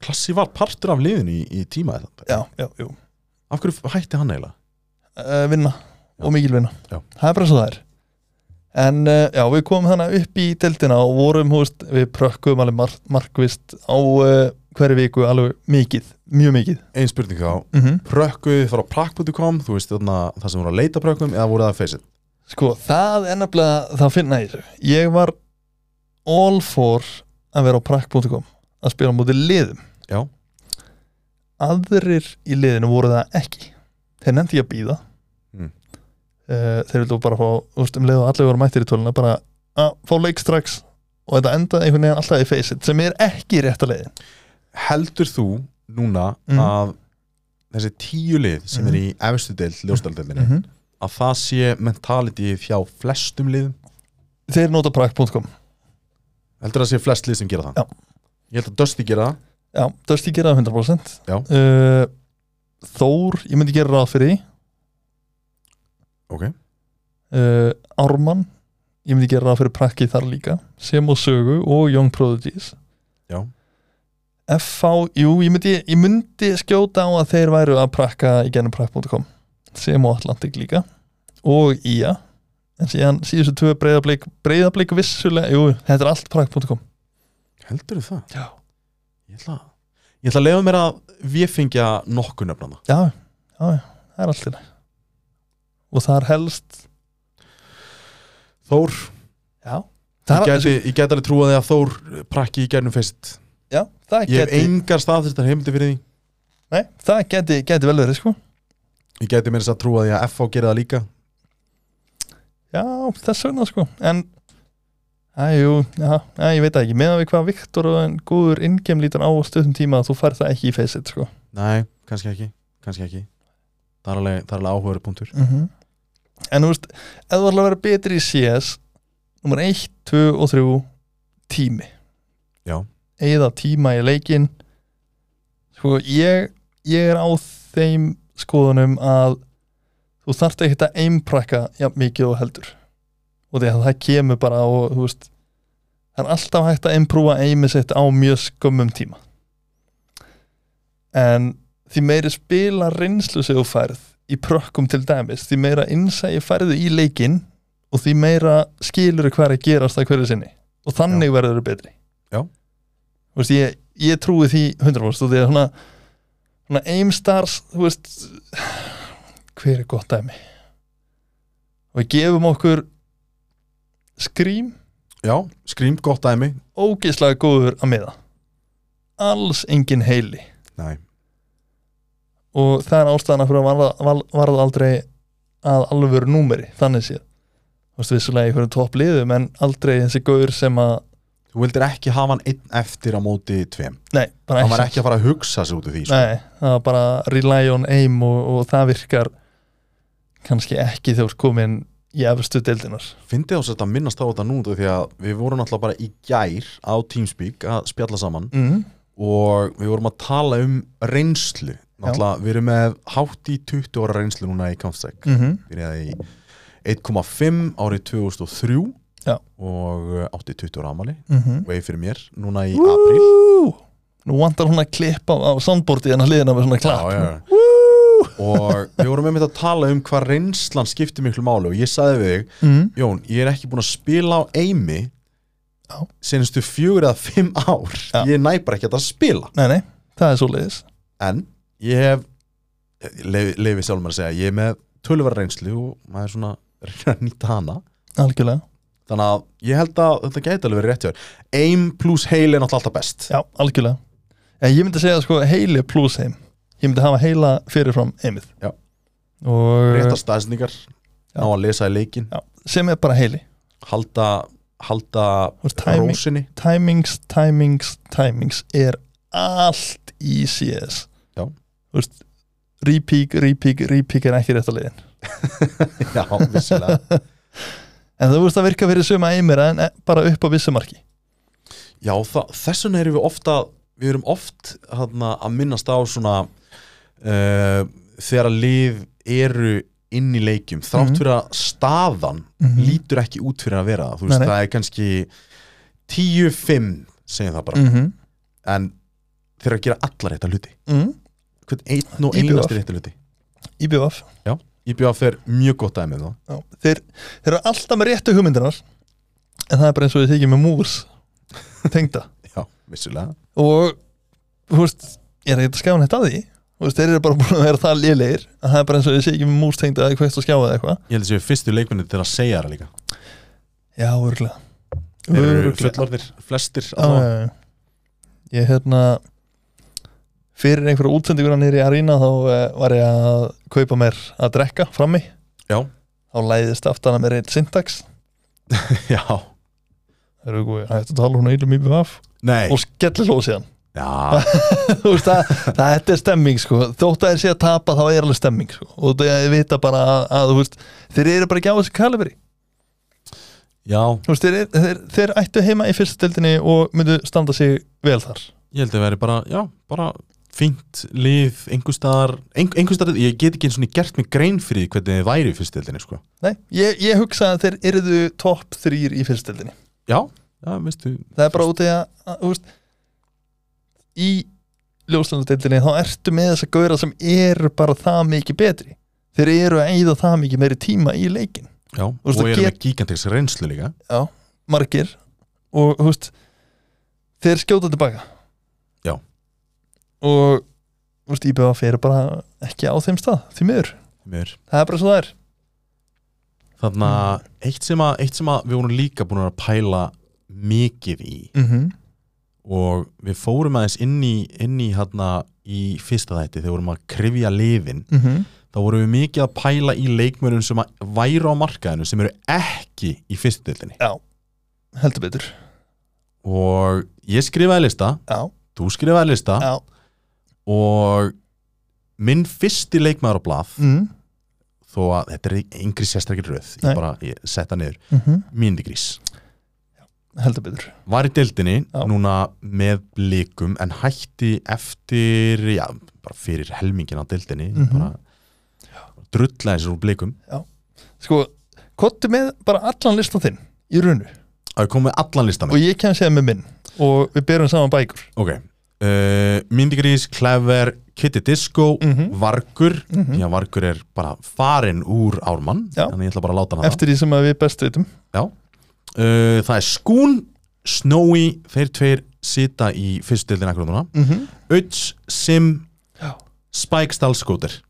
Speaker 2: Klassi var partur af liðinu í, í tíma eða þetta.
Speaker 3: já, já, jú,
Speaker 2: Af hverju hætti hann eiginlega?
Speaker 3: uh, vinna
Speaker 2: Já.
Speaker 3: og mikil vinna
Speaker 2: Já.
Speaker 3: það er bara svo það er en uh, já, við komum þannig upp í deltina og vorum, húst, við prökkum alveg mar markvist á uh, hverju viku alveg mikið, mjög mikið
Speaker 2: Einn spurning þá,
Speaker 3: mm -hmm.
Speaker 2: prökkuðu frá prak.com, þú veist þarna það sem voru að leita prökkum eða voru það feysið?
Speaker 3: sko, það er nefnilega það finna ég þessu, ég var all for að vera á prak.com að spila á móti liðum
Speaker 2: Já.
Speaker 3: aðrir í liðinu voru það ekki þeir nefndi ekki að býða
Speaker 2: Mm.
Speaker 3: Eh, þeir vildu bara fá úst, um leið og allir voru mættir í töluna bara að fá leik strax og þetta endaði einhvern veginn alltaf í faceit sem er ekki rétt að leiðin
Speaker 2: heldur þú núna
Speaker 3: Mm.
Speaker 2: að þessi tíu lið sem
Speaker 3: Mm.
Speaker 2: er í efstu deild, ljóstaldeldinni
Speaker 3: -hmm.
Speaker 2: að það sé mentality hjá flestum liðum
Speaker 3: þeir nota prak.com
Speaker 2: heldur það sé flest lið sem gera það
Speaker 3: Já.
Speaker 2: ég held að Dusty gera það
Speaker 3: já, Dusty gera það 100%
Speaker 2: Já.
Speaker 3: Eh, Þór, ég myndi gera ráð fyrir því
Speaker 2: okay.
Speaker 3: uh, Ármann ég myndi gera það fyrir prakki þar líka sem og Sögu og Young Prodigies
Speaker 2: Já.
Speaker 3: FH, jú, ég myndi, ég myndi skjóta á að þeir væru að prakka í gennum prakk.com sem og Atlantik líka og IA en síðan síðustu tvö breyðablík breyðablík vissulega, jú, þetta er allt prakk.com
Speaker 2: heldur þú það?
Speaker 3: já,
Speaker 2: Ég ætla, ég ætla að leifa mér að viðfingja nokkuð nöfnana
Speaker 3: já, já, já, það er allt í lagi og þar helst
Speaker 2: Þór,
Speaker 3: já,
Speaker 2: ég
Speaker 3: það er,
Speaker 2: gæti, ég gæti alveg trúa því að Þór prakki í gænum fyrst
Speaker 3: já, það
Speaker 2: ég hef
Speaker 3: geti
Speaker 2: engar staðfyrstar heimildi fyrir því
Speaker 3: nei, það geti, geti vel verið, sko
Speaker 2: ég gæti mér þess að trúa því að FH gera það líka
Speaker 3: Já, þess vegna sko En, aðjú, já, að, ég veit það ekki Meðan við hvað Viktor og en góður ingem lítur á á stöðum tíma að þú færð það ekki í faceit sko
Speaker 2: nei, kannski ekki, kannski ekki. Það, er alveg, það er alveg áhugaður punktur
Speaker 3: En þú veist, ef þú ætlar að vera betri í CS Númer 1, 2 og 3 Tími
Speaker 2: Já.
Speaker 3: Eða tíma í leikin Sko, ég Ég er á þeim skoðunum að þú þarft ekki að eimprakka jafn mikið og heldur og því að það kemur bara og þú veist það er alltaf hægt að imprúa aimið sitt á mjög skömmum tíma en því meiri spila reynslu sem þú færð í prökkum til dæmis, því meira innsægi færðu í leikinn og því meira skilur hvað er að gerast að hverju sinni og þannig verður þau betri
Speaker 2: Já.
Speaker 3: Þú veist, ég, ég trúi því 100% og því að svona, svona aimstars, þú veist hver er gott dæmi og við gefum okkur skrím
Speaker 2: já, skrým, gott dæmi
Speaker 3: ógeðslega góður að miða alls engin heili
Speaker 2: nei,
Speaker 3: og það er ástæðana fyrir að varða, val- varða aldrei að alvöru númeri þannig séð þú veist vissulega í hverjum topp liðum en aldrei þessi góður sem að
Speaker 2: þú vildir ekki hafa hann einn eftir á móti tveim
Speaker 3: nei, bara
Speaker 2: hann var ekki að fara að hugsa sig út úr því sko.
Speaker 3: nei, það var bara rely on aim og, og það virkar kannski ekki þegar komin í efstu deildinar
Speaker 2: fyndið ás að minnast á þetta nú út af því að við vorum alltaf bara í gær á Teamspeak að spjalla saman
Speaker 3: mm.
Speaker 2: og við vorum að tala um reynslu náttúrulega við erum með hátt í 20 ára reynslu núna í Counter-Strike
Speaker 3: Mm
Speaker 2: byrjaði í 1,5 árið 2003
Speaker 3: Já.
Speaker 2: og uh, átti 20 ára amali
Speaker 3: -hmm.
Speaker 2: og eigi fyrir mér núna mhm. í april
Speaker 3: nú vantar hún að klippa á, á soundboardið hennar hliðina með svona klap
Speaker 2: já, já. og við vorum einmitt að tala um hvað reynslan skiptir miklu máli og ég sagði við þig
Speaker 3: Mm.
Speaker 2: Jón, ég er ekki búin að spila á eimi
Speaker 3: Já.
Speaker 2: senstu fjögur eða fimm ár
Speaker 3: Já.
Speaker 2: ég næ bara ekki að spila
Speaker 3: Nei, nei, það er svo leiðis
Speaker 2: en ég hef leifi leyf sjálf mér að segja, ég er með tölvar reynslu og maður er svona reynir að nýta hana
Speaker 3: Algjörlega,
Speaker 2: þannig að ég held að þetta gæti alveg verið rétt hjá þér. aim plus heil er náttúrulega alltaf best
Speaker 3: já, algjörlega en Ég myndi segja sko heili pluss heim Ég myndi hafa heila fyrirfram heimið
Speaker 2: Já.
Speaker 3: Og
Speaker 2: réttar staðsningar,
Speaker 3: Já.
Speaker 2: ná að lesa í leikin
Speaker 3: já, sem er bara heili
Speaker 2: halda, halda
Speaker 3: Og timing-
Speaker 2: rósinni
Speaker 3: Timings, timings, timings er allt í CS
Speaker 2: Já.
Speaker 3: Þú veist, repeak, repeak, repeak er ekki rétt að leiðin
Speaker 2: já, vissulega
Speaker 3: En þú veist að virka fyrir suma heimir en eh, bara upp á vissumarki
Speaker 2: Já, það, þess vegna erum við ofta við erum oft hana, að minnast á svona uh, þegar að lið eru inn í leikjum, þrátt
Speaker 3: Mhm.
Speaker 2: fyrir að staðan
Speaker 3: Mhm.
Speaker 2: lítur ekki út fyrir að vera það, þú veist,
Speaker 3: Nei, nei.
Speaker 2: það er kannski 10-5, segjum það bara
Speaker 3: mm -hmm.
Speaker 2: en þeir eru að gera alla rétta hluti
Speaker 3: mm.
Speaker 2: hvern einn og
Speaker 3: IBF.
Speaker 2: einasti rétta hluti
Speaker 3: IBF
Speaker 2: IBF er mjög gott aðeins með það
Speaker 3: Já, þeir, þeir eru alltaf með réttu hugmyndinar en það er bara eins og þið þykir með mús tengda
Speaker 2: Já, vissulega
Speaker 3: og þú veist, ég er ekkert að skjána þetta að því Þú veist, þeir eru bara búin að vera það lélegir að það er bara eins og þið þykir með mús tengda eða hvort að skjáða eða eitthvað
Speaker 2: Ég held að séu fyrstu leikminni til að segja það líka
Speaker 3: já, örgulega
Speaker 2: Þeir eru fullorðir, flestir
Speaker 3: já, já,
Speaker 2: allavega.
Speaker 3: já. ég hérna fyrir einhverja útsendingur nýri í Arena þá eh, var ég að kaupa mér að drekka frammi
Speaker 2: Já.
Speaker 3: þá læðist aftan að mér eitt syntax
Speaker 2: já,
Speaker 3: það eru góði, hættu að tala hún eilum í BVF
Speaker 2: nei
Speaker 3: og skellir hlósi hann
Speaker 2: já,
Speaker 3: Þú veist, það, það, þetta er stemming sko. þótt að þeir sé að tapa þá er alveg stemming sko. og það er vita bara að, að þú veist, þeir eru bara ekki á þessu kalibri
Speaker 2: já,
Speaker 3: Þú veist, þeir, þeir, þeir ættu heima í fyrstu deildinni og myndu standa sig vel þar
Speaker 2: ég held að vera bara, já, bara fínt líf, einhverstaðar ein, einhverstaðar, ég get ekki eins og niður gert mig grein fyrir því hvernig þið væri í fyrstildinni sko.
Speaker 3: Nei, ég, ég hugsa að þeir eruðu topp þrýr í fyrstu deildinni
Speaker 2: já, já, veistu
Speaker 3: það er bara út í að, að þú veist, í ljóslandadeildinni þá ertu með þess að gauðra sem eru bara það mikið betri þeir eru að eyða það mikið meiri tíma í leikin
Speaker 2: já, og
Speaker 3: veist,
Speaker 2: ég
Speaker 3: það
Speaker 2: er
Speaker 3: get-
Speaker 2: með gigantiks reynslu líka
Speaker 3: margir og þú veist, þeir skjóta tilbaka
Speaker 2: Já.
Speaker 3: og þú veist, IBF eru bara ekki á þeim stað því miður,
Speaker 2: mér
Speaker 3: það er bara svo það er
Speaker 2: Þannig að eitt sem að, eitt sem að við vorum líka búin að pæla mikið í
Speaker 3: mm -hmm.
Speaker 2: og við fórum aðeins inn í, inn í hérna í fyrsta þætti þegar við vorum að krifja lifin
Speaker 3: mhm.
Speaker 2: þá vorum við mikið að pæla í leikmörnum sem að væru á markaðinu sem eru ekki í fyrstudildinni
Speaker 3: heldur betur
Speaker 2: og ég skrifaði lista,
Speaker 3: já,
Speaker 2: þú skrifaði lista
Speaker 3: já,
Speaker 2: og minn fyrsti leikmæður á blað
Speaker 3: mm
Speaker 2: þó að þetta er yngri sérstakir röð ég
Speaker 3: Nei.
Speaker 2: bara ég setta niður,
Speaker 3: -hmm.
Speaker 2: mindigrís
Speaker 3: heldur betur
Speaker 2: var í deildinni
Speaker 3: Já.
Speaker 2: núna með blikum en hætti eftir já, bara fyrir helmingin á deildinni mm
Speaker 3: Mhm.
Speaker 2: -hmm. bara drullaði sér úr blikum
Speaker 3: sko, kottu með bara allan listan þinn í runu
Speaker 2: að komið allan listan
Speaker 3: og ég kem séð með minn og við berum saman bækur
Speaker 2: ok, uh, Mindigrís, Klever Kitty Disco,
Speaker 3: Mhm.
Speaker 2: Vargur
Speaker 3: Mhm.
Speaker 2: já, Vargur er bara farin úr Ármann,
Speaker 3: Já.
Speaker 2: þannig ég ætla bara að láta hann
Speaker 3: eftir því sem að við best veitum
Speaker 2: uh, það er Skún, Snowy þeir tveir sita í fyrstu deildin akkur núna,
Speaker 3: mm
Speaker 2: Uts, Sim
Speaker 3: Já.
Speaker 2: Spike Stalskóter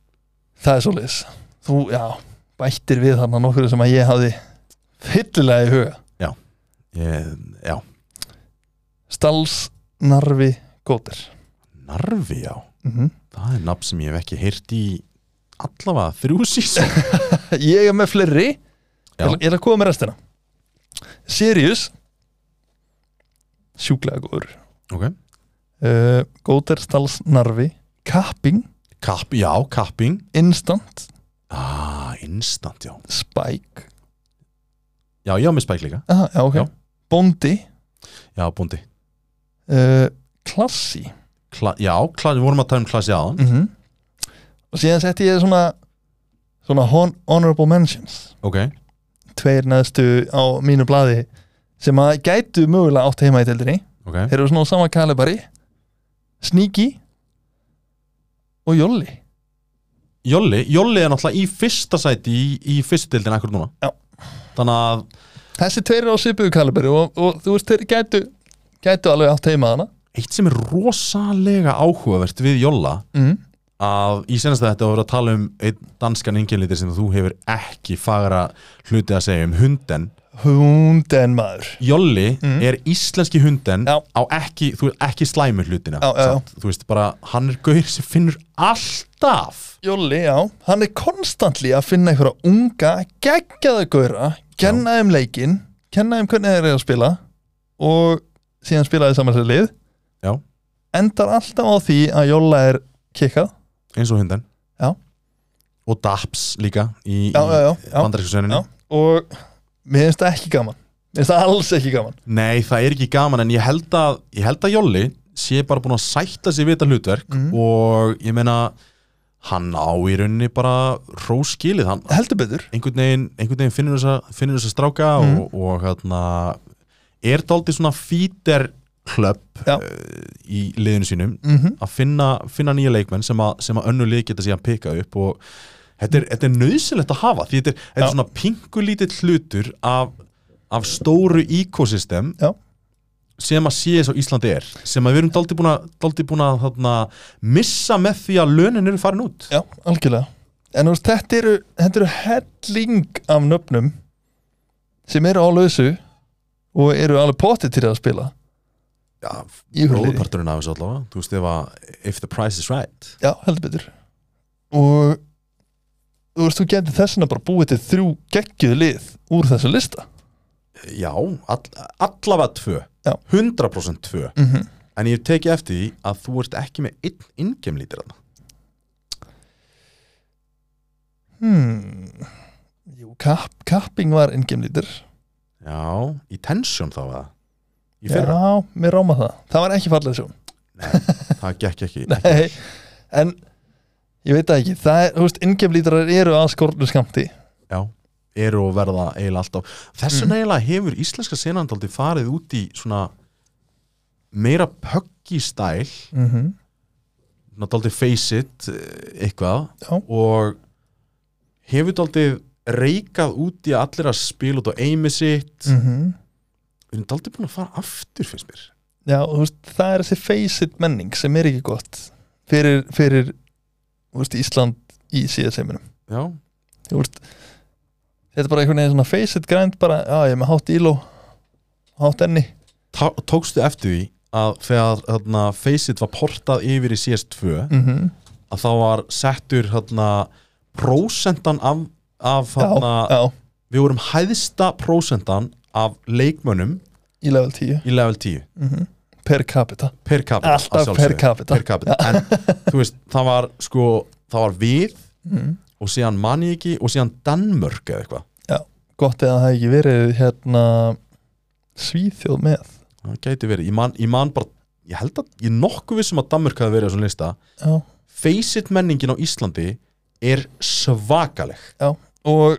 Speaker 3: það er svo leis þú, já, bættir við þarna nokkur sem að ég hafði fyllilega í huga
Speaker 2: ég, Eh, já,
Speaker 3: Stals, Narvi, Góter
Speaker 2: Narvi já
Speaker 3: mm
Speaker 2: Það er nafn sem ég hef ekki heyrt í allavega þrjú sísón
Speaker 3: ég er með fleiri ég
Speaker 2: Já.
Speaker 3: ætla ég ætla að koma með restina Sirius sjúklega góður
Speaker 2: okay.
Speaker 3: uh, Góter, Stals, Narvi Kapping,
Speaker 2: Kapp, Já, kapping
Speaker 3: Instant
Speaker 2: ah, Instant, já
Speaker 3: Spike
Speaker 2: Já, ég á með spæk líka
Speaker 3: Aha, já, okay.
Speaker 2: Já.
Speaker 3: Bondi
Speaker 2: Já, búndi
Speaker 3: uh, Klassi
Speaker 2: Kla, Já, kla, við vorum að tala um klasi aðan
Speaker 3: mm og síðan setti ég svona svona hon honorable mentions
Speaker 2: Ok,
Speaker 3: tveir neðstu á mínu blaði sem að gætu mögulega átt heima í tildinni
Speaker 2: ok
Speaker 3: þeir eru svona á sama kalibari Sneaky og Jolli
Speaker 2: Jolli, Jolli er náttúrulega í fyrsta sæti í, í fyrstu deildin akkur núna
Speaker 3: Já.
Speaker 2: Þannig að,
Speaker 3: þessi tveir eru á svipuðu kalibari og, og þú veist þeir gætu gætu alveg átt heima þarna
Speaker 2: eitt sem er rosalega áhugavert við Jolla
Speaker 3: mm.
Speaker 2: að í senasta þetta voru að tala um einn danskan yngjölítir sem þú hefur ekki fagra hluti að segja um hunden
Speaker 3: hunden maður
Speaker 2: Jolli
Speaker 3: Mm.
Speaker 2: er íslenski hunden
Speaker 3: Já.
Speaker 2: á ekki, þú veist, ekki slæmu hlutina
Speaker 3: Já, já, já.
Speaker 2: samt. þú veist bara, hann er gaur sem finnur alltaf
Speaker 3: Jolli, já, hann er konstantli að finna einhverja unga, geggjaða góra, kenna þeim leikinn, kenna þeim hvernig þeir eru að spila og síðan spilaði saman sér lið
Speaker 2: Já.
Speaker 3: endar alltaf á því að Jolla er kikkað
Speaker 2: eins og hunden
Speaker 3: Já.
Speaker 2: og Daps líka í,
Speaker 3: já, já, já,
Speaker 2: í
Speaker 3: já,
Speaker 2: bandarísku sönunni
Speaker 3: já. og mér finnst það ekki gaman mér finnst það alls ekki gaman
Speaker 2: Nei, það er ekki gaman en ég held að, ég held að Jolli sé bara búin að sætta sér við þetta hlutverk
Speaker 3: Mhm.
Speaker 2: og ég meina hann á í rauninni bara róskilið, hann
Speaker 3: heldur betur
Speaker 2: einhvern veginn, einhvern veginn finnur þessa, finnur þessa stráka
Speaker 3: Mhm.
Speaker 2: og, og hérna er daldið svona fíter klöpp
Speaker 3: Já.
Speaker 2: uh, í liðinu sínum
Speaker 3: mm
Speaker 2: að finna, finna nýja leikmenn sem að, sem að önnu lið geta síðan pikka upp og þetta er, þetta er nöðsilegt að hafa því þetta er, þetta
Speaker 3: Já.
Speaker 2: er svona pingulítill hlutur af, af stóru ekosystem
Speaker 3: Já.
Speaker 2: sem að sé þess á Íslandi er sem að við erum daldið búin að, daldið búin að þarna, missa með því að lönin eru farin út
Speaker 3: já, algjörlega en þú veist, þetta eru, þetta eru helling af nöfnum sem eru á lausu og eru alveg potið til að spila
Speaker 2: já,
Speaker 3: Í hulunni.
Speaker 2: bróðparturinn af þessu allavega þú veist ef að if the price is right
Speaker 3: Já, heldur betur Og þú veist, þú getur þessina bara búið til þrjú geggjuð lið úr þessu lista
Speaker 2: já, all, allavega tvö
Speaker 3: Já.
Speaker 2: 100% tvö
Speaker 3: mm -hmm.
Speaker 2: en ég teki eftir því að þú ert ekki með einn ingemlítir þarna
Speaker 3: hmm. Jú, kapp, kapping var ingemlítur
Speaker 2: já, í tensjón þá eða í fyrra,
Speaker 3: Já, mér ráma það Það var ekki fallið sjón
Speaker 2: það gekk ekki
Speaker 3: Nei, en ég veit það ekki Það er, þú veist, ingemlítrar eru að skornu skamti
Speaker 2: já, eru og verða eiginlega alltaf þess vegna eiginlega hefur íslenska senandaldi farið út í svona meira pöggi stæl
Speaker 3: mm -hmm.
Speaker 2: náttúrulega face it eh, eitthvað
Speaker 3: Já.
Speaker 2: og hefur daldið reikað út í að allir að spila út á eimi sitt
Speaker 3: Mm -hmm.
Speaker 2: við erum daldið búin að fara aftur finnst mér
Speaker 3: Já, þú veist, það er þessi face-it menning sem er ekki gott fyrir, fyrir þú veist, Ísland í síðaseiminum
Speaker 2: já,
Speaker 3: Þú veist, þetta er bara einhvern veginn svona face-it grænt bara, já, ég er með hátt íló hátt enni
Speaker 2: Tá, tókstu eftir því að þegar þarna, face it var portað yfir í CS2
Speaker 3: mm
Speaker 2: að þá var settur þarna, prósentan af, af
Speaker 3: já,
Speaker 2: þarna,
Speaker 3: já,
Speaker 2: við vorum hæðsta prósentan af leikmönnum
Speaker 3: í level 10
Speaker 2: í level 10
Speaker 3: per capita
Speaker 2: per capita að
Speaker 3: Alltaf per
Speaker 2: sjálfsögðu.
Speaker 3: capita.
Speaker 2: per capita. en þú veist, það var sko, það var við
Speaker 3: Mhm.
Speaker 2: og síðan manni ekki og síðan Danmörk eða eitthvað
Speaker 3: gott eða það hefði ekki verið hérna svíþjóð með
Speaker 2: það gæti verið, ég man, ég man bara ég held að, ég er nokkuð vissum að Danmörk hafi verið á svona lista,
Speaker 3: já.
Speaker 2: face it menningin á Íslandi er svakaleg
Speaker 3: og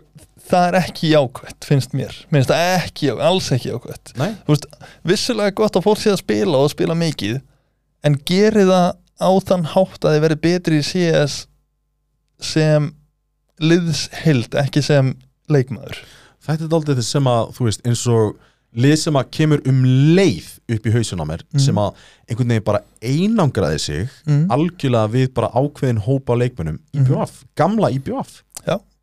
Speaker 3: það er ekki jákvætt, finnst mér minnst það ekki, jákvætt, alls ekki jákvætt
Speaker 2: Nei.
Speaker 3: vissulega gott að fólk sé að spila og að spila mikið en geri það á þann hátt að þið verið betri í CS sem liðsheild, ekki sem leikmaður
Speaker 2: þetta er aldrei þess sem að, þú veist, eins og lið sem að kemur um leið upp í hausun á mér,
Speaker 3: Mm.
Speaker 2: sem að einhvern veginn bara einangraði sig
Speaker 3: mm.
Speaker 2: algjörlega við bara ákveðin hópa leikmönnum
Speaker 3: Mhm.
Speaker 2: IBF, gamla IBF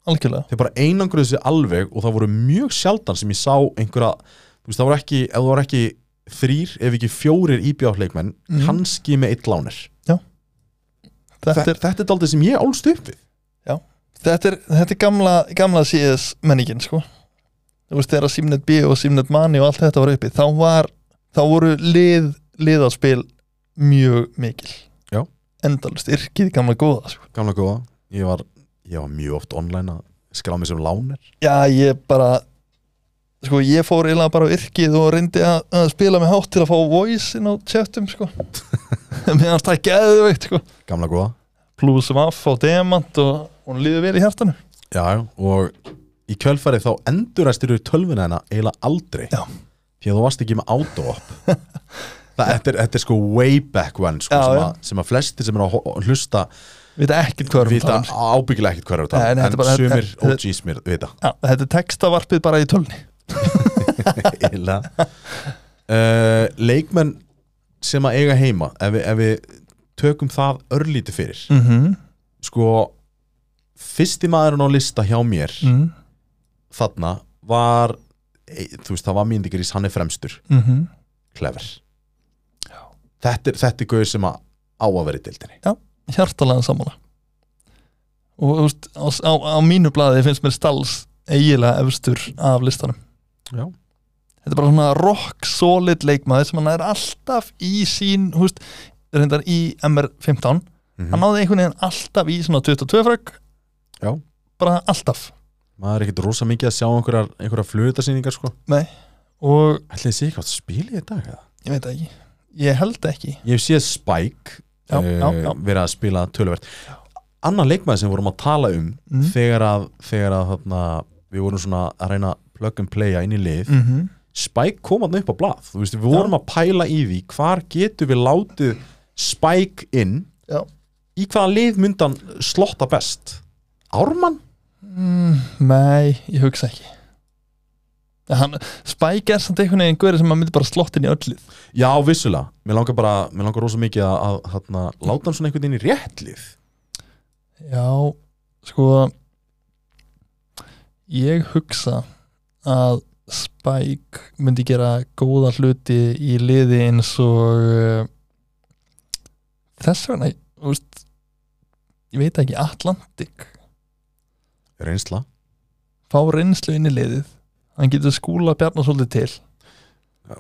Speaker 3: algjörlega
Speaker 2: þeir bara einangruðu sig alveg og það voru mjög sjaldan sem ég sá einhverja, þú veist það voru ekki, ef það voru ekki þrýr, ef ekki fjórir IBF leikmenn,
Speaker 3: Mhm.
Speaker 2: kannski með eitt lánir.
Speaker 3: þetta
Speaker 2: Þetta,
Speaker 3: er,
Speaker 2: þetta er daldið sem ég álst upp við.
Speaker 3: þetta er, þetta er gamla, gamla CS menningin sko þú veist þegar Simnet B og Simnet Mani og allt þetta var uppi þá var, þá voru lið liðarspil mjög mikil
Speaker 2: Já.
Speaker 3: endalust yrkið gamla góða sko.
Speaker 2: Gamla góða, ég var, ég var mjög oft online að skrá mig sem lánir.
Speaker 3: já ég bara sko ég fór eiginlega bara á yrkið og reyndi að, að spila með hátt til að fá voice inn á chatum sko meðan það geðveikt sko
Speaker 2: Gamla góða.
Speaker 3: plusum af á demant og hún líður vel í hjartanu
Speaker 2: Já, já, og í kjölfarið þá enduræstir þau tölvuna hennar eiginlega aldrei.
Speaker 3: Já.
Speaker 2: Því að þú varst ekki með auto-op. Það, þetta, er, þetta er sko way back when sko,
Speaker 3: Já,
Speaker 2: sem,
Speaker 3: já.
Speaker 2: að, sem að flesti sem er að ho- hlusta
Speaker 3: við þetta ekkert hvað erum að
Speaker 2: vita
Speaker 3: tala um, sko.
Speaker 2: ábyggilega ekkert hverju
Speaker 3: Nei,
Speaker 2: það
Speaker 3: nei, þetta
Speaker 2: en
Speaker 3: er bara-
Speaker 2: sumir
Speaker 3: þetta-
Speaker 2: OGs mér vita
Speaker 3: Já, þetta er textavarpið bara í tölni
Speaker 2: Eiginlega. uh, leikmenn sem að eiga heima ef við, ef við tökum það örlítið fyrir
Speaker 3: mm -hmm.
Speaker 2: sko fyrsti maðurinn á lista hjá mér
Speaker 3: mm
Speaker 2: þarna var e, þú veist það var Mindigrís, hann er fremstur
Speaker 3: -hmm.
Speaker 2: klefer þetta, er- þetta er gauður sem að á að vera í deildinni
Speaker 3: Hjartalega samanlega Og þú veist, á, á, á mínu blaði finnst mér Stals eiginlega efstur af listanum
Speaker 2: Já.
Speaker 3: Þetta er bara svona rock solid leikmaði sem hann er alltaf í sín þú veist, reyndar í MR15
Speaker 2: Mhm.
Speaker 3: hann náði einhvern veginn alltaf í svona 22 frögg
Speaker 2: Já.
Speaker 3: bara alltaf
Speaker 2: maður er ekkert rosa mikið að sjá einhverjar, einhverjar flutasýningar sko
Speaker 3: og
Speaker 2: ætli þessi eitthvað spilið í dag eða?
Speaker 3: ég veit það ekki ég held ekki
Speaker 2: Ég hef séð Spike
Speaker 3: Já,
Speaker 2: eh,
Speaker 3: já, já.
Speaker 2: verið að spila töluvert Anna leikmaður sem við vorum að tala um
Speaker 3: Mm.
Speaker 2: þegar að, þegar að þarna, við vorum svona að reyna að plug and playa inn í lið
Speaker 3: mm -hmm.
Speaker 2: Spike kom hann upp á blað Þú veist, við vorum að pæla í því hvar getur við látið Spike inn
Speaker 3: Já.
Speaker 2: í hvaða lið myndan slotta best Ármann?
Speaker 3: Mm, Nei, ég hugsa ekki En hann, Spike er samt einhvern veginn guður sem maður myndi bara slott inn í öllið
Speaker 2: Já, vissulega, mér langar bara mér langar rosa mikið að, að þarna, láta hann svona einhvern veginn í rétt lið
Speaker 3: Já, sko Ég hugsa að Spike myndi gera góða hluti í liði eins og uh, þess vegna úst, ég veit ekki Atlantic
Speaker 2: reynsla
Speaker 3: fá reynslu inn í liðið hann getur skúla Bjarnar svolítið til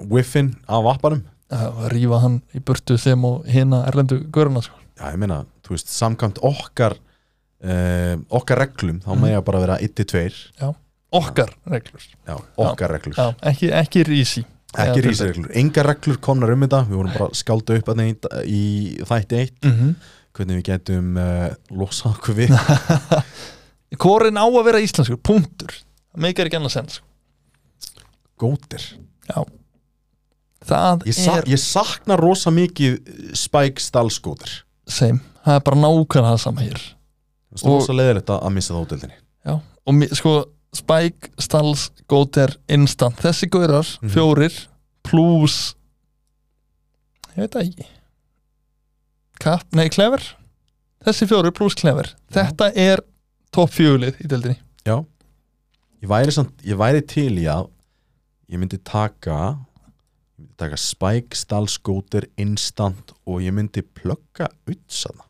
Speaker 2: Whiffin af apparum
Speaker 3: að rífa hann í burtu sem og hina erlendu göruna sko.
Speaker 2: Já, ég meina, þú veist, samkvæmt okkar uh, okkar reglum þá
Speaker 3: Mm.
Speaker 2: mm. ég bara vera 1-2
Speaker 3: okkar reglur,
Speaker 2: Já, okkar reglur,
Speaker 3: Já, ekki, ekki rísi
Speaker 2: ekki
Speaker 3: Já,
Speaker 2: rísareglur engar reglur komnar um þetta, við vorum bara að skálda upp þarna í, í þætti eitt
Speaker 3: mm -hmm.
Speaker 2: hvernig við getum uh, losað okkur við
Speaker 3: Hvorin á að vera íslenskur, punktur það meikar ekki annað sens sko.
Speaker 2: gótir
Speaker 3: það
Speaker 2: ég, sa
Speaker 3: er
Speaker 2: ég sakna rosa mikið Spike Stalsgótir
Speaker 3: same, það er bara nákvæmlega það sama hér
Speaker 2: það er
Speaker 3: Og-
Speaker 2: rosa leiðilegt að að missa það útöldinni
Speaker 3: Já, og mér, sko Spike, Stals, Goter, Instant þessi gaurar,
Speaker 2: Mhm.
Speaker 3: fjórir plus ég veit það ekki Kapp, nei, Klever þessi fjórir plus Klever
Speaker 2: Mhm.
Speaker 3: þetta er topp fjólið í deildinni
Speaker 2: ég væri, samt, ég væri til í að ég myndi taka ég myndi taka Spike Stalsgótir instant og ég myndi plugga utsana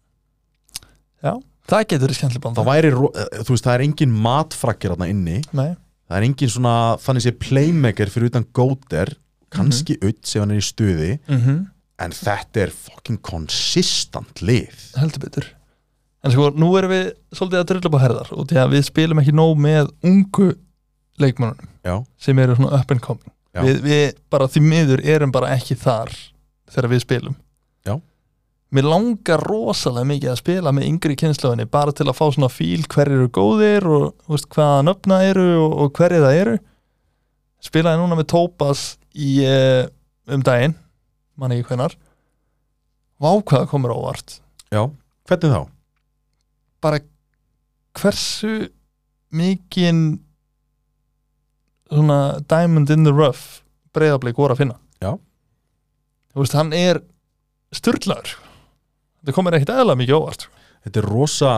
Speaker 3: það getur í skemmtileg
Speaker 2: það
Speaker 3: banda
Speaker 2: væri, ro- eh, þú veist, það er engin matfrakkir þarna inni
Speaker 3: nei,
Speaker 2: það er engin svona, þannig sé playmaker fyrir utan góter, kannski mm ef hann er í stuði,
Speaker 3: mm
Speaker 2: en þetta er fucking consistent lið
Speaker 3: heldur betur en sko, nú erum við svolítið að drilla upp á herðar og því að við spilum ekki nóg með ungu leikmannunum
Speaker 2: já,
Speaker 3: sem eru svona up and coming
Speaker 2: Já.
Speaker 3: við, við bara því miður erum bara ekki þar þegar við spilum
Speaker 2: Já.
Speaker 3: Mér langar rosalega mikið að spila með yngri kynslaðinni bara til að fá svona fíl hverjir eru góðir og þú veist, hvaða nöfna eru og, og hverjir það eru spilaði núna með Tópas í eh, um daginn mann ekki hvenar vákvaða komur óvart
Speaker 2: já, hvernig þá?
Speaker 3: bara hversu mikinn svona diamond in the rough breyðablík voru að finna
Speaker 2: Já.
Speaker 3: þú veist, hann er styrlaður þetta komir ekkit eðla mikið óvart
Speaker 2: þetta er rosa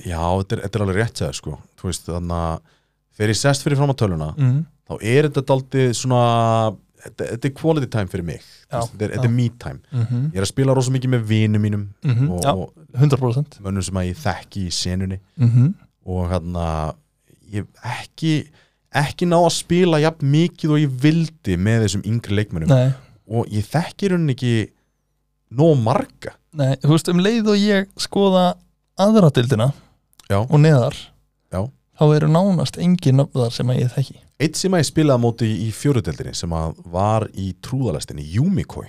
Speaker 2: já, þetta er, þetta er alveg rétt segja sko þú veist, þannig að þegar ég sest fyrir fram á töluna
Speaker 3: mm.
Speaker 2: þá er þetta daldið svona þetta, þetta er quality time fyrir mig Þú
Speaker 3: Já,
Speaker 2: veist, þetta er,
Speaker 3: já.
Speaker 2: þetta er me time
Speaker 3: Mm -hmm.
Speaker 2: ég er að spila rosa mikið með vinum mínum og,
Speaker 3: Mhm. Já,
Speaker 2: og
Speaker 3: 100%
Speaker 2: mönnum sem að ég þekki í senunni
Speaker 3: mm
Speaker 2: og hann að ég ekki ekki ná að spila jafn mikið og ég vildi með þessum yngri leikmönnum
Speaker 3: nei,
Speaker 2: og ég þekki í rauninni ekki nóg marga
Speaker 3: nei, þú veist, um leið og ég skoða aðra dildina
Speaker 2: Já.
Speaker 3: og neðar
Speaker 2: Já.
Speaker 3: þá eru nánast engin nöfnðar sem að ég þekki
Speaker 2: Eitt sem að ég spilaði á móti í fjóruðeldinni sem að var í trúðalestinni, Yumikoi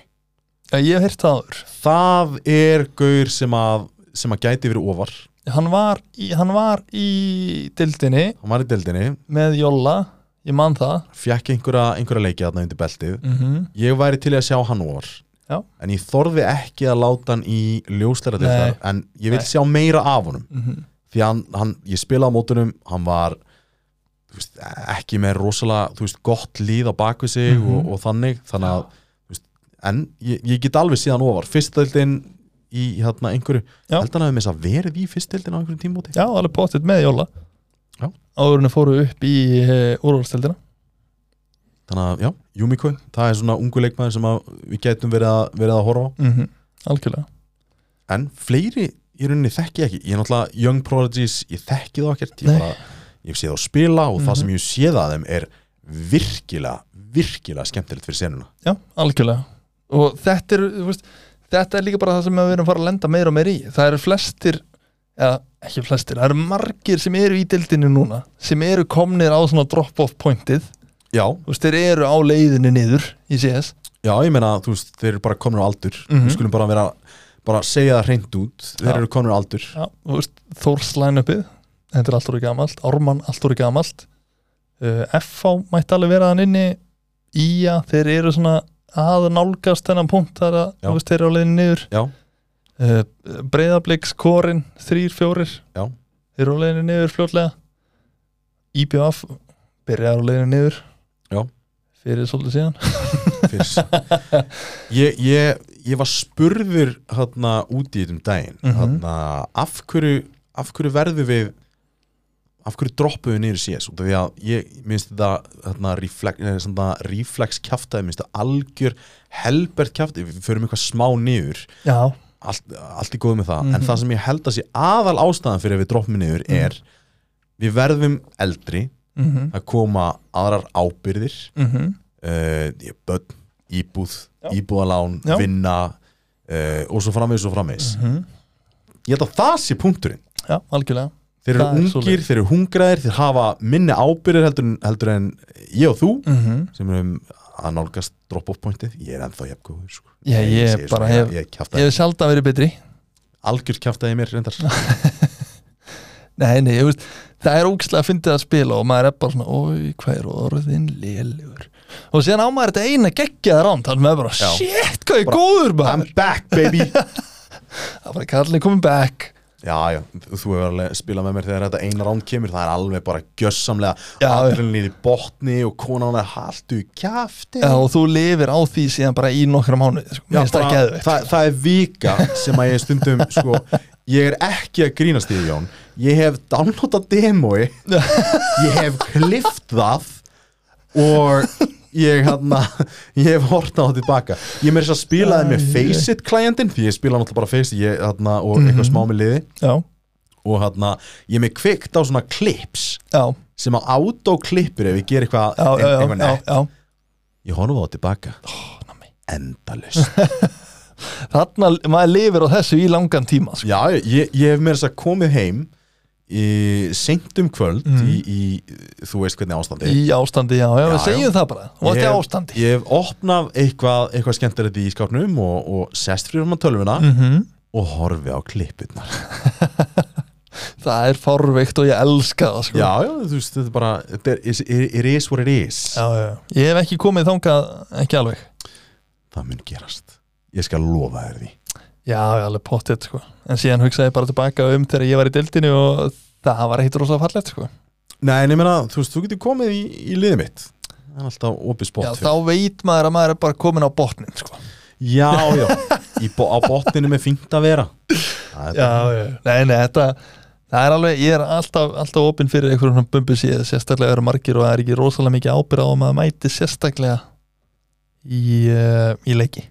Speaker 3: Já, ég hef heyrt það áður
Speaker 2: Það er gaur sem að, sem að gæti verið ofar
Speaker 3: hann var í, hann var í dildinni
Speaker 2: Hann var í deldinni,
Speaker 3: með Jóla ég man það
Speaker 2: fjekk einhverja, einhverja leikið þarna undir beltið
Speaker 3: mm -hmm.
Speaker 2: Ég væri til í að sjá hann ofar
Speaker 3: Já.
Speaker 2: En ég þorði ekki að láta hann í ljóslega deildar En ég vil
Speaker 3: Nei.
Speaker 2: sjá meira af honum Því að hann, hann, ég spilaði á mótunum, hann var þú veist, ekki með rosalega þú veist, gott líð á bakvið sig
Speaker 3: Mhm.
Speaker 2: og, og þannig Þannig að en ég, ég get alveg síðan ofar fyrstdeildin í hérna einhverju
Speaker 3: Já.
Speaker 2: held hann að við með þess að verið í fyrstdeildin á einhverjum tímóti
Speaker 3: já, alveg pottitt með Jóla
Speaker 2: Já.
Speaker 3: áðurinn fóru upp í eh, úrvalstildina
Speaker 2: þannig að já, Júmikoi, það er svona ungu leikmaður sem að við getum verið að, verið að horfa á
Speaker 3: mm -hmm. algjörlega
Speaker 2: en fleiri í rauninni þekki ég ekki ég er náttúrulega Young Prodigies, ég þekki þá ekkert ég,
Speaker 3: Nei.
Speaker 2: bara, ég sé þá spila og
Speaker 3: Mhm.
Speaker 2: það sem ég sé það þeim er virkilega, virkilega skemmtilegt fyrir senuna
Speaker 3: já, algjörlega og þetta er, þú veist, þetta er líka bara það sem við erum að fara að lenda meira og meira í það eru flestir eða ekki flestir, það eru margir sem eru í dildinu núna sem eru komnir á svona drop-off pointið
Speaker 2: já,
Speaker 3: þú veist, þeir eru á leiðinni niður í CS
Speaker 2: já, ég meina þú veist, þeir eru bara komin á aldur
Speaker 3: Mhm.
Speaker 2: við skulum bara vera, bara segja það hreint út þeir
Speaker 3: Já.
Speaker 2: eru komin á aldur
Speaker 3: Já, þú veist, Þórslæn uppið þetta er allt úr gamalt, Ármann allt úr gamalt uh, FH mætti alveg vera hann inni Ía, þeir eru svona að nálgast þennan punkt þar að
Speaker 2: Já.
Speaker 3: þú veist, þeir eru á leiðin niður
Speaker 2: já,
Speaker 3: uh, Breiðabliks, Korin, þrýr, fjórir
Speaker 2: Já.
Speaker 3: þeir eru á leiðin niður fljótlega IBF byrjar á leiðin niður
Speaker 2: Já.
Speaker 3: fyrir svolítið síðan
Speaker 2: fyrst ég, ég, ég var spurður hérna úti í þetta um daginn
Speaker 3: Mhm.
Speaker 2: hérna, af, hverju, af hverju verðum við af hverju droppuðu niður í CS út af því að ég minnst þetta þarna, reflex, eh, nei, svona, reflex kjaftaði minnst þetta algjör helbert kjaftaði við förum eitthvað smá niður
Speaker 3: já,
Speaker 2: allt, allt í góð með það en það sem ég held að sé aðal ástæðan fyrir að við droppum niður er við verðum eldri
Speaker 3: mhm,
Speaker 2: að koma aðrar ábyrðir
Speaker 3: mhm
Speaker 2: uh, ég- börn, íbúð,
Speaker 3: Já.
Speaker 2: íbúðalán
Speaker 3: Já. Mhm.
Speaker 2: vinna uh, og svo framvegis og framvegis ég held að það sé punkturinn
Speaker 3: já, algjörlega
Speaker 2: þeir eru
Speaker 3: Það er
Speaker 2: ungir,
Speaker 3: svoleiðis.
Speaker 2: þeir eru hungraðir þeir hafa minni ábyrðir heldur, en- heldur en ég og þú
Speaker 3: mhm,
Speaker 2: sem erum að nálgast drop-off pointið ég er ennþá jafngóður sko.
Speaker 3: Já, ég
Speaker 2: segi
Speaker 3: bara
Speaker 2: svona,
Speaker 3: hef-
Speaker 2: ég, ég
Speaker 3: ég
Speaker 2: kjaftaði,
Speaker 3: hef sjaldan verið betri
Speaker 2: algjör kjaftaði mér reyndar
Speaker 3: Nei, nei, ég veist, það er ógislega að fyndið að spila og maður er bara svona, oi, hvað er orðin lélugur og síðan á maður þetta eina geggjaða ránd þannig maður er bara,
Speaker 2: Já.
Speaker 3: shit, hvað er góður
Speaker 2: I'm
Speaker 3: maður
Speaker 2: back baby
Speaker 3: það var kallin coming back
Speaker 2: Já, já, þú hefur alveg spilað með mér þegar þetta eina rán kemur, það er alveg bara gjössamlega
Speaker 3: Já, já.
Speaker 2: adrenalín í botni og konan er haltu í kjafti
Speaker 3: Já, og þú lifir á því síðan bara í nokkra mánuði sko.
Speaker 2: Já,
Speaker 3: Mér finnst það
Speaker 2: bara-
Speaker 3: geðveikt.
Speaker 2: það, það er vika sem að ég stundum sko, ég er ekki að grínast í því, Jón ég hef downloadað demói ég hef klift það og ég hérna ég hef hort á það tilbaka ég meir þess að spilaði með Faceit klientinn því ég spilaði náttúrulega bara Faceit ég, hérna, og
Speaker 3: Mhm.
Speaker 2: eitthvað smá með liði
Speaker 3: Já,
Speaker 2: og hérna, ég er með kveikt á svona clips
Speaker 3: já,
Speaker 2: sem á autoklippur ef ég ger eitthvað
Speaker 3: já, já, já,
Speaker 2: eitthvað
Speaker 3: já,
Speaker 2: nett.
Speaker 3: já.
Speaker 2: ég horfa á það tilbaka endalust
Speaker 3: Þarna, maður lifir á þessu í langan tíma sko.
Speaker 2: já, ég, ég hef með þess að komið heim í seint um kvöld í, í, þú veist hvernig ástandi
Speaker 3: Mhm. Í ástandi, já, já,
Speaker 2: Já,
Speaker 3: við segjum
Speaker 2: já.
Speaker 3: það bara Og þetta
Speaker 2: ég,
Speaker 3: er
Speaker 2: hef-
Speaker 3: ástandi
Speaker 2: ég hef opnað eitthvað, eitthvað skemmtilegt í skápnum og, og sest fyrir um að tölvuna
Speaker 3: Mhm.
Speaker 2: og horfi á klippurnar
Speaker 3: Það er forveikt og ég elska það sko.
Speaker 2: já, já, þú veist, þetta er bara þetta er, it, it is what it is
Speaker 3: já, já, já. Ég hef ekki komið þangað, ekki alveg
Speaker 2: það mun gerast ég skal lofa þér því
Speaker 3: Já, já, alveg pottið, sko En síðan hugsaði ég bara tilbaka um þegar ég var í deildinu og það var heitt rosa fallegt, sko
Speaker 2: Nei, en ég meina, þú veist, þú getur komið í, í liðið mitt Það er alltaf opið spott
Speaker 3: Já,
Speaker 2: fyrir-
Speaker 3: þá veit maður að maður er bara komin á botnin, sko
Speaker 2: Já, já, í, bo- á botninu með fínt að vera Það er bara-
Speaker 3: já Nei, nei, þetta Það er alveg, ég er alltaf, alltaf opinn fyrir einhverjum svona bumbu síð, sérstaklega eru margir og það er ekki rosalega mikið ábyrða á að maður mæti sérstaklega í, uh, í leiki.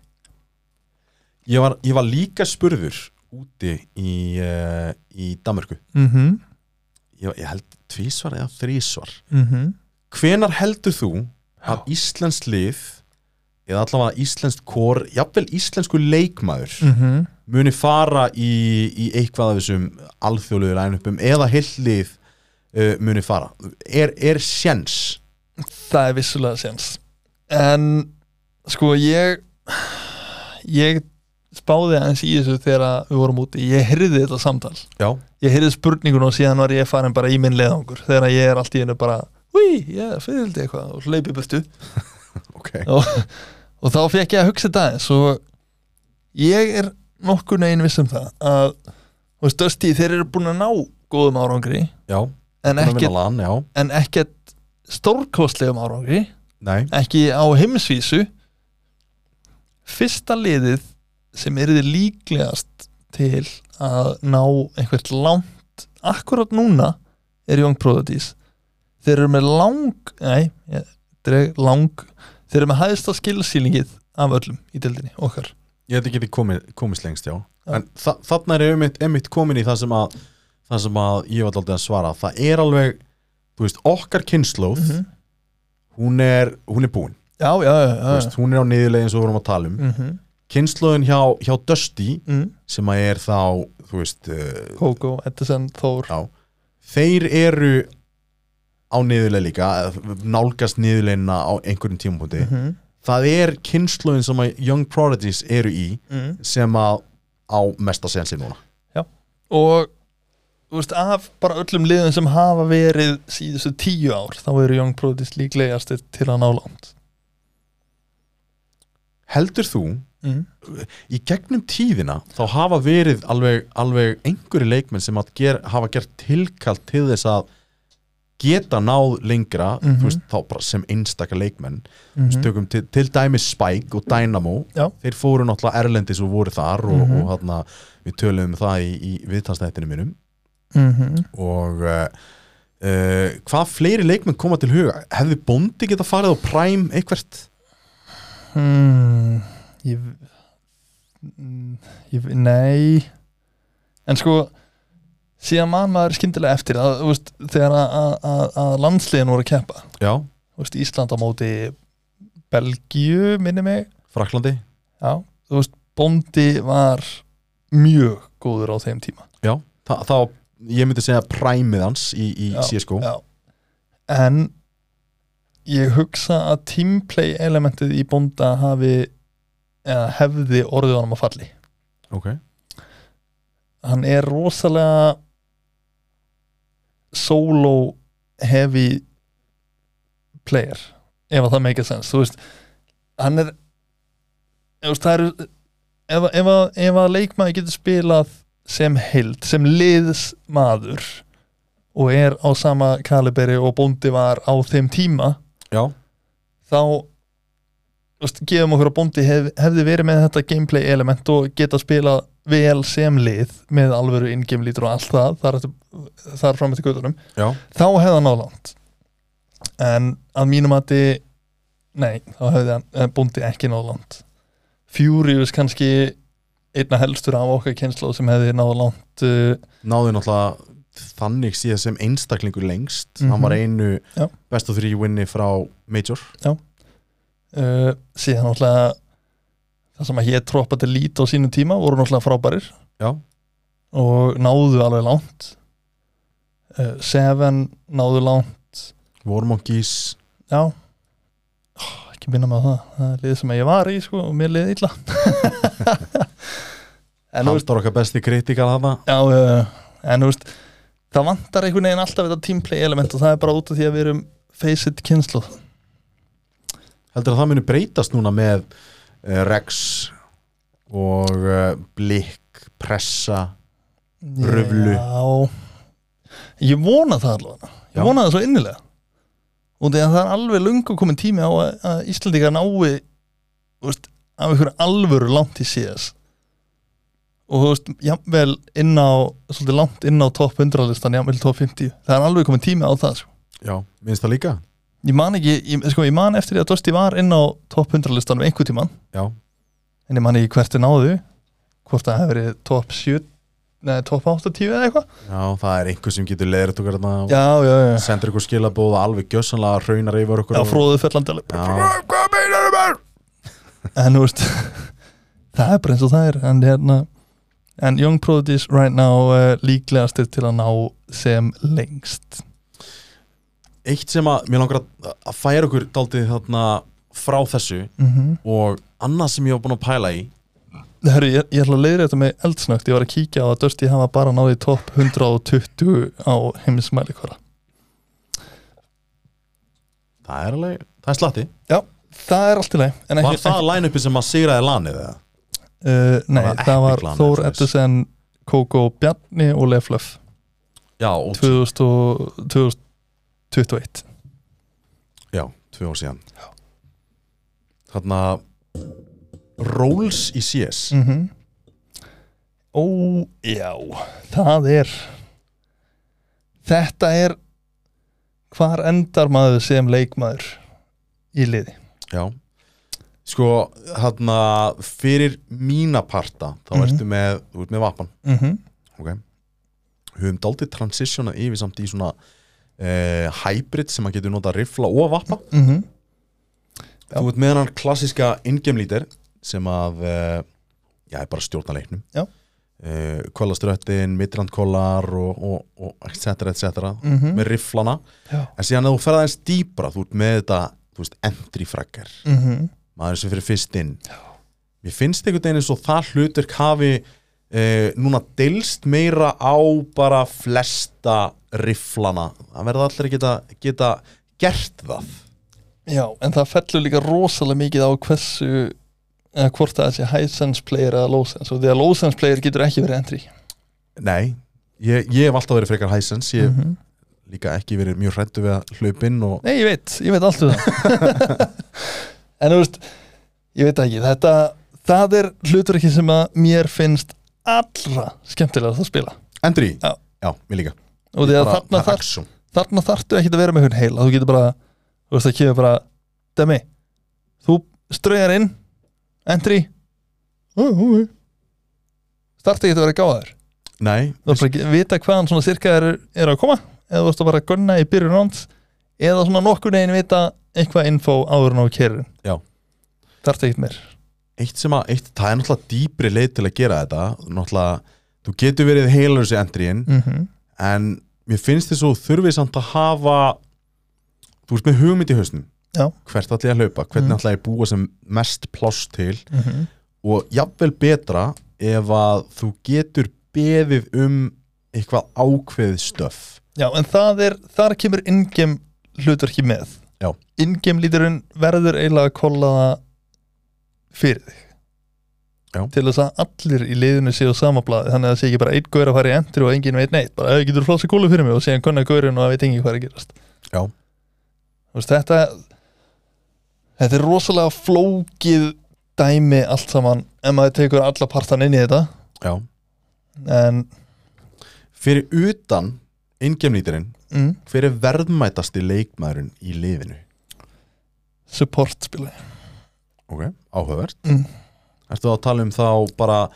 Speaker 2: ég, var, ég var líka spurður úti í, uh, í Danmörku
Speaker 3: Mm -hmm.
Speaker 2: ég, ég held tvísvar eða þrísvar
Speaker 3: Mm -hmm.
Speaker 2: Hvenar heldur þú að Íslensk lið eða allavega Íslensk kor jafnvel íslensku leikmaður
Speaker 3: Mhm.
Speaker 2: muni fara í, í eitthvað af þessum alþjóðlegu lænupum eða hillið uh, muni fara er, er sjens
Speaker 3: Það er vissulega séns. En sko ég ég spáði aðeins í þessu þegar að við vorum úti. Ég heyrði þetta samtal.
Speaker 2: já,
Speaker 3: Ég heyrði spurningun og síðan var ég farin bara í minn leiðangur þegar að ég er allt í hennu bara, hví, ég fyrirldi eitthvað og hleypi í burtu.
Speaker 2: ok
Speaker 3: og, og þá fekk ég að hugsa þetta aðeins og ég er nokkur negin viss um það að þú veist, Dusty, þeir eru búin að ná góðum árangri
Speaker 2: já,
Speaker 3: en
Speaker 2: ekki,
Speaker 3: ekkert,
Speaker 2: lan, já.
Speaker 3: en ekkert stórkostlegum árangri
Speaker 2: Nei,
Speaker 3: ekki á heimsvísu fyrsta liðið sem er þið líklegast til að ná einhvert langt akkurat núna er Young Prodigies þeir eru með lang nei, ég dreg lang þeir eru með hæðsta skilsýlingið af öllum í deildinni, okkar
Speaker 2: ég held ekki þið komið, komist lengst, já, en þa þarna er einmitt, einmitt komin í það sem að það sem að ég var alltaf að svara það er alveg, þú veist, okkar kynnslóð
Speaker 3: Mhm.
Speaker 2: hún er hún er búin,
Speaker 3: já, já, já,
Speaker 2: þú
Speaker 3: já.
Speaker 2: veist, hún er á niðurlegin sem við vorum að tala um,
Speaker 3: Mm -hmm.
Speaker 2: kynnslóðin hjá, hjá Dusty
Speaker 3: mm.
Speaker 2: sem að er þá, þú veist uh,
Speaker 3: Kókó, Edison, Þór
Speaker 2: já, þeir eru á niðurlegin líka nálgast niðurlegina á einhverjum tímapunkti
Speaker 3: Mhm.
Speaker 2: það er kynnslóðin sem að Young Prodigies eru í
Speaker 3: mm.
Speaker 2: sem að á mesta sensi núna
Speaker 3: og þú veist, af bara öllum liðum sem hafa verið síðustu tíu ár þá eru Young Prodigies líklegast til að ná langt
Speaker 2: heldur þú,
Speaker 3: mm.
Speaker 2: í gegnum tíðina þá hafa verið alveg, alveg einhverju leikmenn sem að ger, hafa gert tilkallt til þess að geta náð lengra mm
Speaker 3: Mhm.
Speaker 2: veist, þá bara sem einstaka leikmenn
Speaker 3: Mm
Speaker 2: stökum til, til dæmi Spike og Dynamo
Speaker 3: Já.
Speaker 2: þeir fóru náttúrulega Erlendis og voru þar og,
Speaker 3: Mhm.
Speaker 2: og þarna,
Speaker 3: mhm.
Speaker 2: við töluðum um það í, í viðtalsnættinu mínum
Speaker 3: -hmm.
Speaker 2: og uh, uh, hvað fleiri leikmenn koma til huga hefði Bondi geta farið á Prime eitthvert
Speaker 3: Hmm, ég, Mm, ég Nei En sko síðan man maður skyndilega eftir að, þú veist, þegar að, að- að, að landsliðin voru að keppa
Speaker 2: já,
Speaker 3: þú veist, Ísland á móti Belgíu, minni mig
Speaker 2: Fraklandi
Speaker 3: Já, þú veist, Bondi var mjög góður á þeim tíma
Speaker 2: já, Þa, þá, ég myndi segja Primeið hans í, í
Speaker 3: Já,
Speaker 2: CSGO
Speaker 3: Já. En ég hugsa að teamplay elementið í Bonda hafi eða hefði orðið honum að falli
Speaker 2: ok,
Speaker 3: hann er rosalega solo heavy player ef að það make a sense þú veist, hann er þú veist, það eru ef, að- ef, að, ef að leikmaður getur spilað sem heild, sem liðsmaður og er á sama kaliberi og bóndi var á þeim tíma
Speaker 2: já,
Speaker 3: þá þú veist, gefum okkur að bóndi hef, hefði verið með þetta gameplay element og geta spila vel sem lið með alvöru ingame lítur og allt það þar, eftir, þar fram eftir gautunum
Speaker 2: já
Speaker 3: þá hefði hann náðlant en að mínum að nei, þá hefði hann eh, bóndi ekki náðlant Furious kannski einna helstur af okkar kynslu sem hefði náðlant uh,
Speaker 2: náði náttúrulega þannig síðan sem einstaklingur lengst
Speaker 3: Mhm.
Speaker 2: hann var einu
Speaker 3: Já.
Speaker 2: best of three winni frá Major
Speaker 3: uh, síðan náttúrulega það sem að hér troppa til lít á sínum tíma voru náttúrulega frábærir
Speaker 2: já,
Speaker 3: og náðu alveg langt uh, Seven náðu langt
Speaker 2: War Monkeys
Speaker 3: já oh, ekki minna með það það er lið sem ég var í sko og mér liði illa en þú
Speaker 2: hann
Speaker 3: veist
Speaker 2: var okkar besti kritikal hana
Speaker 3: já, uh, en þú veist það vantar einhvern veginn alltaf þetta teamplay element og það er bara út af því að við erum face-it kynslu
Speaker 2: heldur að það muni breytast núna með uh, Rex og uh, Blik pressa, Ruflu.
Speaker 3: já ég vona það allavega ég
Speaker 2: Já.
Speaker 3: vona það svo innilega og því að það er alveg lungu komin tími á að, að Íslandingar nái þú veist, af einhverju alvöru langt í CS og þú veist, jafnvel inn á svolítið langt inn á topp 100 listan jafnvel topp 50, það er alveg komin tími á það sko.
Speaker 2: já, minnst það líka
Speaker 3: ég man ekki, ég, sko, ég man eftir því að Dusty var inn á topp 100 listanum einhver tíman
Speaker 2: já,
Speaker 3: en ég man ekki hvert er náðu hvort það hefur verið topp 7 neða topp 80 eða eitthvað
Speaker 2: já, það er einhver sem getur leðrætt okkar þarna og
Speaker 3: já, já, já, já,
Speaker 2: sendur ykkur skilabóð alveg gjössanlega raunar yfir okkur
Speaker 3: já
Speaker 2: og-
Speaker 3: fróðu fellandi alveg
Speaker 2: já,
Speaker 1: Hvað meinar það mér?
Speaker 3: en þú veist það er bara eins og það er en, hérna, en Young Prodigies right now uh, líklegastir til að ná sem lengst
Speaker 2: eitt sem að mér langar að, að færa okkur daldið þarna frá þessu
Speaker 3: mm
Speaker 2: og annað sem ég var búin að pæla í
Speaker 3: Hörru, ég, ég ætla að leiðra þetta með eldsnögt ég var að kíkja á að Dusty hafa bara náði topp 120 á heimsmælikvara
Speaker 2: það er alveg, það er slatti
Speaker 3: já, það er allt í leið en ekki,
Speaker 2: var það line-upi sem að sigraði lanið eða?
Speaker 3: uh, nei,
Speaker 2: var
Speaker 3: það var
Speaker 2: Epic-lanið,
Speaker 3: Þór
Speaker 2: svoleiðis?
Speaker 3: Eddusen Kókó Bjarni og Leflöf
Speaker 2: já, og
Speaker 3: 2021
Speaker 2: Já, tvö ár síðan Þarna Rolls í CS
Speaker 3: mm Ó, já, það er Þetta er Hvar endar maður sem leikmaður í liði?
Speaker 2: Já Sko, þarna fyrir mína parta þá
Speaker 3: Mhm.
Speaker 2: ertu með, þú ert með vapan
Speaker 3: Mm -hmm.
Speaker 2: ok Við höfum daldið transitiona yfir samt í svona eh, hybrid sem að getur nota rifla og vapa
Speaker 3: Mm -hmm. Já.
Speaker 2: Þú ert með hann klassiska ingame leader sem að eh, já, er bara stjórna leiknum
Speaker 3: Já.
Speaker 2: eh, Kólaströttin, midrandkólar og, og, og etc. etc. með riflana
Speaker 3: Já.
Speaker 2: en síðan að þú ferða aðeins dýpra þú ert með þetta, þú veist, entry fraggar maður sem fyrir fyrst inn Já. mér finnst einhvern veginn eins og það hlutur hafi e, núna delst meira á bara flesta riflana það verða allir að geta, geta gert það
Speaker 3: Já, en það fellur líka rosalega mikið á hversu eða hvort það sé high sense player eða low sense og því að low sense player getur ekki verið entry
Speaker 2: nei, ég, ég hef alltaf verið frekar hæsens ég hef
Speaker 3: Mhm.
Speaker 2: líka ekki verið mjög hrættu við að hlaupinn og
Speaker 3: Nei, ég veit, ég veit allt um það En þú veist Ég veit það ekki, þetta Það er hlutur ekki sem að mér finnst allra skemmtilegast að spila
Speaker 2: Endri,
Speaker 3: Já.
Speaker 2: já, mér líka
Speaker 3: og því að
Speaker 2: það
Speaker 3: þarna
Speaker 2: er
Speaker 3: þarf,
Speaker 2: axum
Speaker 3: þarna þarftu ekki að vera með hún heil þú getur bara, þú veist það kemur bara Demi, þú ströðar inn entry starta ekki að vera gáðar
Speaker 2: Nei,
Speaker 3: þú veist bara ekki vita hvaðan svona cirka er, er að koma eða þú veist að bara gunna í byrjun ránd eða svona nokkur neginn vita eitthvað info áður en á kérurinn
Speaker 2: Já.
Speaker 3: þarftu ekkert meir
Speaker 2: eitt sem að, eitt, það er náttúrulega dýpri leið til að gera þetta náttúrulega, þú getur verið heilur sér endriðin
Speaker 3: mm
Speaker 2: en mér finnst þess að þú þurfið samt að hafa þú veist með hugmynd í hausnum
Speaker 3: Já.
Speaker 2: hvert allir að hlaupa, hvernig mm.
Speaker 3: Mm.
Speaker 2: allir að búa sem mest pláss til
Speaker 3: -hmm.
Speaker 2: og jafnvel betra ef að þú getur beðið um eitthvað ákveðið stöf
Speaker 3: Já, en það er, þar kemur ingem hlutverki með
Speaker 2: Já.
Speaker 3: Ingem líturinn verður eiginlega að kolla það fyrir þig
Speaker 2: Já.
Speaker 3: Til þess að allir í liðinu séu á sama blaði Þannig að það sé ekki bara einn gaur að fara í entry og enginn veit neitt Bara, "Ey, getur þú flótsi kúlu fyrir mig og síðan konna gaurinn og það veit enginn hvað er að gerast
Speaker 2: Já.
Speaker 3: Þú Veist, þetta, þetta er rosalega flókið dæmi allt saman ef maður tekur alla partan inn í þetta
Speaker 2: Já.
Speaker 3: En,
Speaker 2: fyrir utan ingemnýtirinn,
Speaker 3: mm,
Speaker 2: hver er verðmætasti leikmaðurinn í liðinu?
Speaker 3: support spila
Speaker 2: Ok, áhugavert
Speaker 3: Mm.
Speaker 2: Ertu að tala um þá bara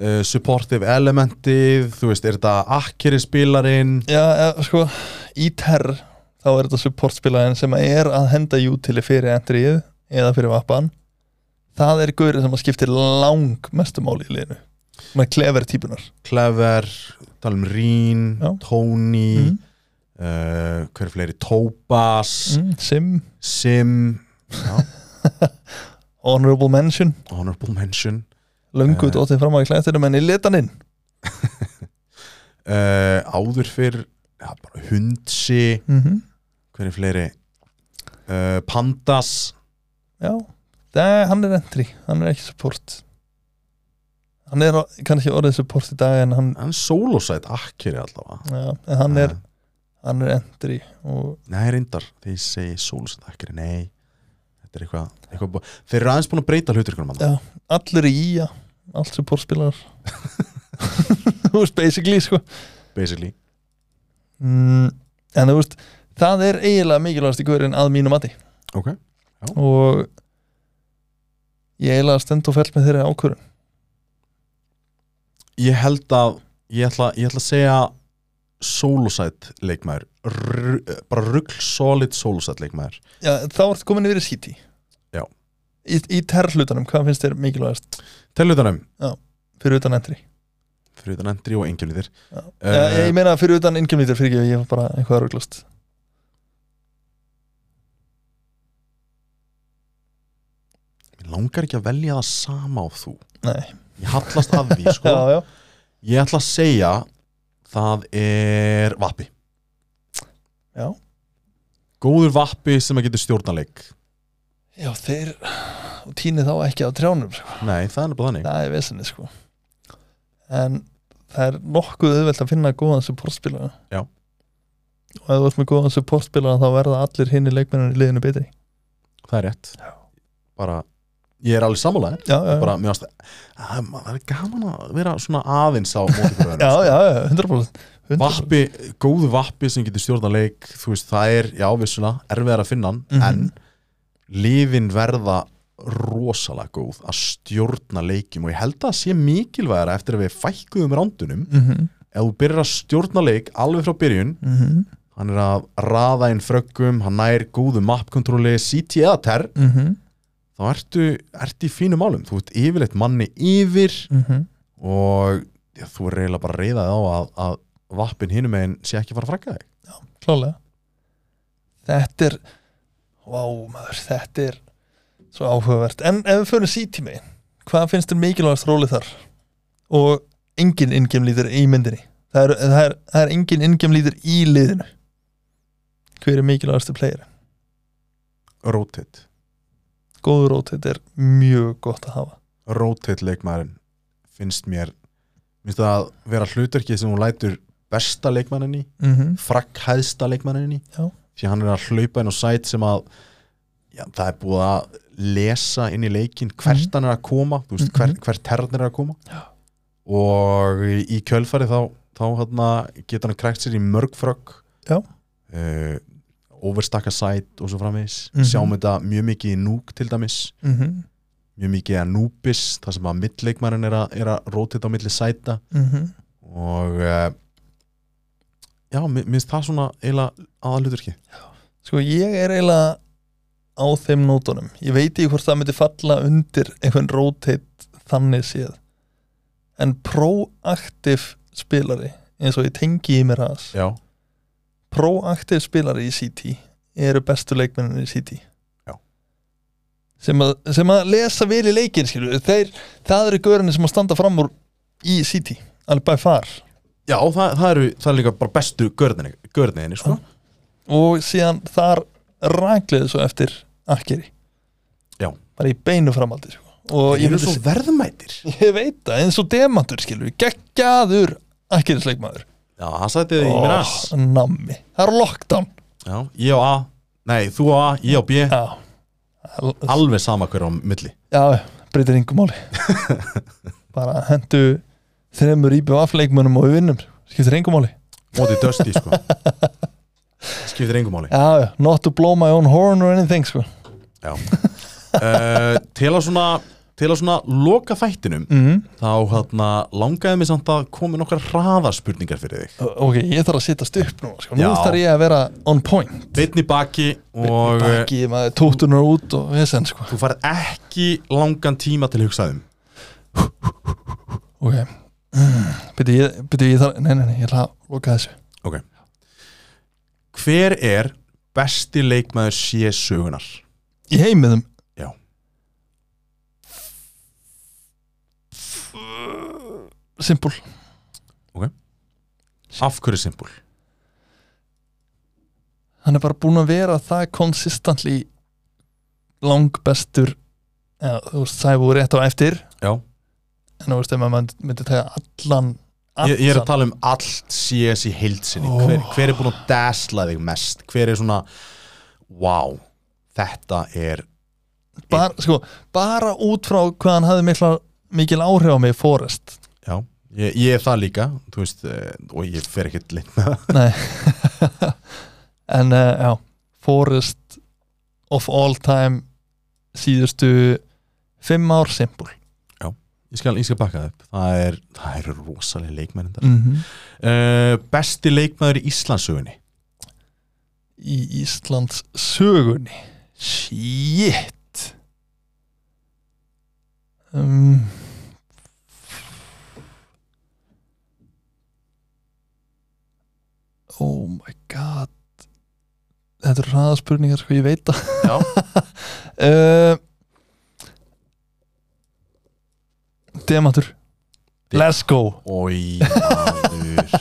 Speaker 2: uh, supportive elementið þú veist, er þetta akkeri spilarinn
Speaker 3: Já, eða, sko, í terr þá er þetta supportspilaðin sem er að henda jútili fyrir endrið eða fyrir vappan það er gaurið sem að skiptir lang mestumáli í liðinu með klever típunar
Speaker 2: Clever, tala um Rín
Speaker 3: Já.
Speaker 2: Tony
Speaker 3: mm.
Speaker 2: uh, hver er fleiri, Tobas
Speaker 3: Mm. Sim,
Speaker 2: Sim já,
Speaker 3: Honorable Mention
Speaker 2: Honorable Mention
Speaker 3: löngu
Speaker 2: Eh.
Speaker 3: uh. dóttið fram að í klættinu menn í litaninn
Speaker 2: uh, áður fyrr ja, bara Hundsi,
Speaker 3: mm -hmm.
Speaker 2: hver er fleiri uh, Pandas
Speaker 3: Já, það, hann er endri hann er ekki support hann er á- kannski orðið support í dag en hann,
Speaker 2: hann er solosætt akkeri allavega
Speaker 3: já, en hann, er,
Speaker 2: Eh,
Speaker 3: hann er endri og
Speaker 2: Nei, reyndar, þegar ég segi solosætt akkeri nei, þetta er eitthvað, eitthvað bú- þeir eru aðeins búin að breyta hlutur
Speaker 3: Já. allir í íja allt supportspilarar þú veist basically sko
Speaker 2: basically
Speaker 3: mm, en þú veist það er eiginlega mikilvægast í hverjum að mínu mati
Speaker 2: okay.
Speaker 3: og ég eiginlega stend og fell með þeirra ákvörun
Speaker 2: ég held að ég ætla, ég ætla að segja solosætt leikmaður R bara rugl solid solosætt leikmaður
Speaker 3: Já, þá ertu komin yfir í síti
Speaker 2: Já.
Speaker 3: í, í terrhlutanum, hvað finnst þér mikilvægast
Speaker 2: Tellutanum,
Speaker 3: fyrir utan endri
Speaker 2: um, fyrir utan Endri og Engjulíðir
Speaker 3: Já.
Speaker 2: Eh,
Speaker 3: ég, ég meina fyrir utan innkjöfnýtur fyrir ekki ég var bara eitthvað rauglast
Speaker 2: Mér langar ekki að velja það sama á þú
Speaker 3: Nei.
Speaker 2: Ég hallast að því sko
Speaker 3: já, já.
Speaker 2: Ég ætla að segja Það er vappi
Speaker 3: Já.
Speaker 2: Góður vappi sem að getur stjórnaleik
Speaker 3: já, þeir og týni þá ekki á trjánum sko.
Speaker 2: Nei, það er bara þannig
Speaker 3: það er vesenni sko en það er nokkuð auðvelt að finna góðan supportspilara
Speaker 2: Já.
Speaker 3: og ef þú ert með góðan supportspilara þá verða allir hinni leikmennin í liðinu betri
Speaker 2: Það er rétt
Speaker 3: Já.
Speaker 2: Bara, ég er alveg sammálaði
Speaker 3: já, já,
Speaker 2: Bara, mér ást Það er gaman að vera svona aðeins á móti hvor öðrum,
Speaker 3: já,
Speaker 2: sko.
Speaker 3: já, já, 100%, 100%.
Speaker 2: Vappi, góðu vappi sem getur stjórnaleik Þú veist, það er, já, vissulega Erfiðar að finna hann,
Speaker 3: Mhm.
Speaker 2: en Lífin verða rosalega góð Að stjórna leikjum Og ég held að það sé mikilvægara eftir að við fækkuðum rándunum
Speaker 3: mm -hmm,
Speaker 2: Ef þú byrjar að stjórna leik alveg frá byrjun
Speaker 3: Mhm.
Speaker 2: Hann er að raða inn fröggum Hann nær góðu mappkontróli CT eða TER
Speaker 3: Mhm.
Speaker 2: Þá ertu, ertu í fínum málum Þú ert yfirleitt manni yfir
Speaker 3: Mhm.
Speaker 2: Og já, þú er reyla bara reyðað á að, að Vappin hinum megin sé ekki að fara að frakka þig
Speaker 3: klálega þetta er vá maður, þetta er svo áhugavert, en ef við fyrir sítími hvað finnst þér mikilvægast rólið þar og engin ingemlítur í myndinni, það er, það er, það er engin ingemlítur í liðinu hver er mikilvægastu playeri
Speaker 2: Rotate
Speaker 3: góður rót, þetta er mjög gott að hafa
Speaker 2: rotate leikmaðurinn finnst mér finnst það að vera hlutverkið sem hún lætur besta leikmanninni,
Speaker 3: mm -hmm.
Speaker 2: frakkhæðsta leikmanninni
Speaker 3: Já.
Speaker 2: því hann er að hlaupa inn á sæt sem að já, það er búið að lesa inn í leikin hvert hann er að koma þú veist,
Speaker 3: Mhm.
Speaker 2: hver, hvert herrn er að koma
Speaker 3: Já.
Speaker 2: hérna og í kjölfari þá, þá hann, getur hann krækt sér í mörg frögg
Speaker 3: Já.
Speaker 2: uh, overstakka sæt og svo framvegis
Speaker 3: Mhm.
Speaker 2: sjáum þetta mjög mikið í núk til dæmis
Speaker 3: mm
Speaker 2: mjög mikið að núbis þar sem að mittleikmarinn er, að- er að rótita á milli sæta og uh, já, mi- minnst það svona eiginlega aðalhuturki
Speaker 3: Sko ég er eiginlega á þeim nótunum Ég veit ekki hvort það myndi falla undir einhvern rotate þannig séð En proaktiv spilari eins og ég tengi í mér aðs
Speaker 2: já,
Speaker 3: proaktiv spilari í City eru bestu leikmennin í City
Speaker 2: Já.
Speaker 3: sem að, sem að lesa vel í leikin skilur við. þeir, það eru görinni sem að standa fram úr í City, alveg bæ far
Speaker 2: já og það, það, eru, það eru líka bara bestu görninni, görninni sko.
Speaker 3: og síðan þar rakliðu svo eftir akkeri
Speaker 2: Já.
Speaker 3: bara í beinu framaldi sko. og
Speaker 2: Þeir
Speaker 3: ég,
Speaker 2: eru
Speaker 3: myndi
Speaker 2: svo
Speaker 3: se-
Speaker 2: verðmætir
Speaker 3: ég veit það, eins og demantur skilur, við, geggjaður akkerisleikmaður
Speaker 2: já, það sætið í mér aðs
Speaker 3: nammi, það er lockdown
Speaker 2: já, ég á A, nei, þú á A, ég á B
Speaker 3: já, Al-
Speaker 2: alveg sama hver á milli
Speaker 3: Já, breytir yngur máli Bara hendu þreymur IBF leikmönnum og við vinnum Skiptir yngur máli
Speaker 2: mótið dösti, sko skiptir engum máli
Speaker 3: Já, já, not to blow my own horn or anything sko.
Speaker 2: já. Uh, til að svona til að svona loka þættinum
Speaker 3: mm.
Speaker 2: þá hérna, langaði mig samt að koma með nokkar hraðarspurningar fyrir þig
Speaker 3: Ok, ég þarf að setjast upp nú sko. Nú
Speaker 2: Já.
Speaker 3: þarf ég að vera on point
Speaker 2: Beinni baki og eh,
Speaker 3: Baki, maður tóttunar út og vesen sko.
Speaker 2: Þú farið ekki langan tíma til um. hugsaðum
Speaker 3: Ok mm. Byrju, ég, byrju, ég þarf Nei, nei, nei, ég ætla að loka þessu
Speaker 2: Ok Hver er besti leikmaður sé sögunar?
Speaker 3: Í heimiðum
Speaker 2: Já.
Speaker 3: Simpul
Speaker 2: Af hverju simpul?
Speaker 3: hann er bara búin að vera það konsistantli langbestur eða, þú veist, það voru rétt á eftir
Speaker 2: Já
Speaker 3: en þú veist, ef maður myndi- myndi tega allan, allan
Speaker 2: Ég, ég er að tala um allt CS í heilsinni hver, hver er búin að dasla þig mest? Hver er svona Wow, þetta er
Speaker 3: bara, sko, bara út frá hvað hann hafði mikla, mikil áhrif á mig Forrest
Speaker 2: Já, ég, ég er það líka Þú veist, eh, og ég fer ekkert linn með það
Speaker 3: nei en uh, já, Forrest of all time síðustu fimm ár simpul
Speaker 2: Ég skal, ég skal bakka það upp Það er, það eru rosalega leikmærin þar
Speaker 3: mm -hmm.
Speaker 2: uh, Besti leikmaður í Íslandsögunni
Speaker 3: í Íslands sögunni shit um, oh my god þetta eru hraðaspurningar sko ég veit það
Speaker 2: Já
Speaker 3: uh, demantur let's go
Speaker 2: Ói, maður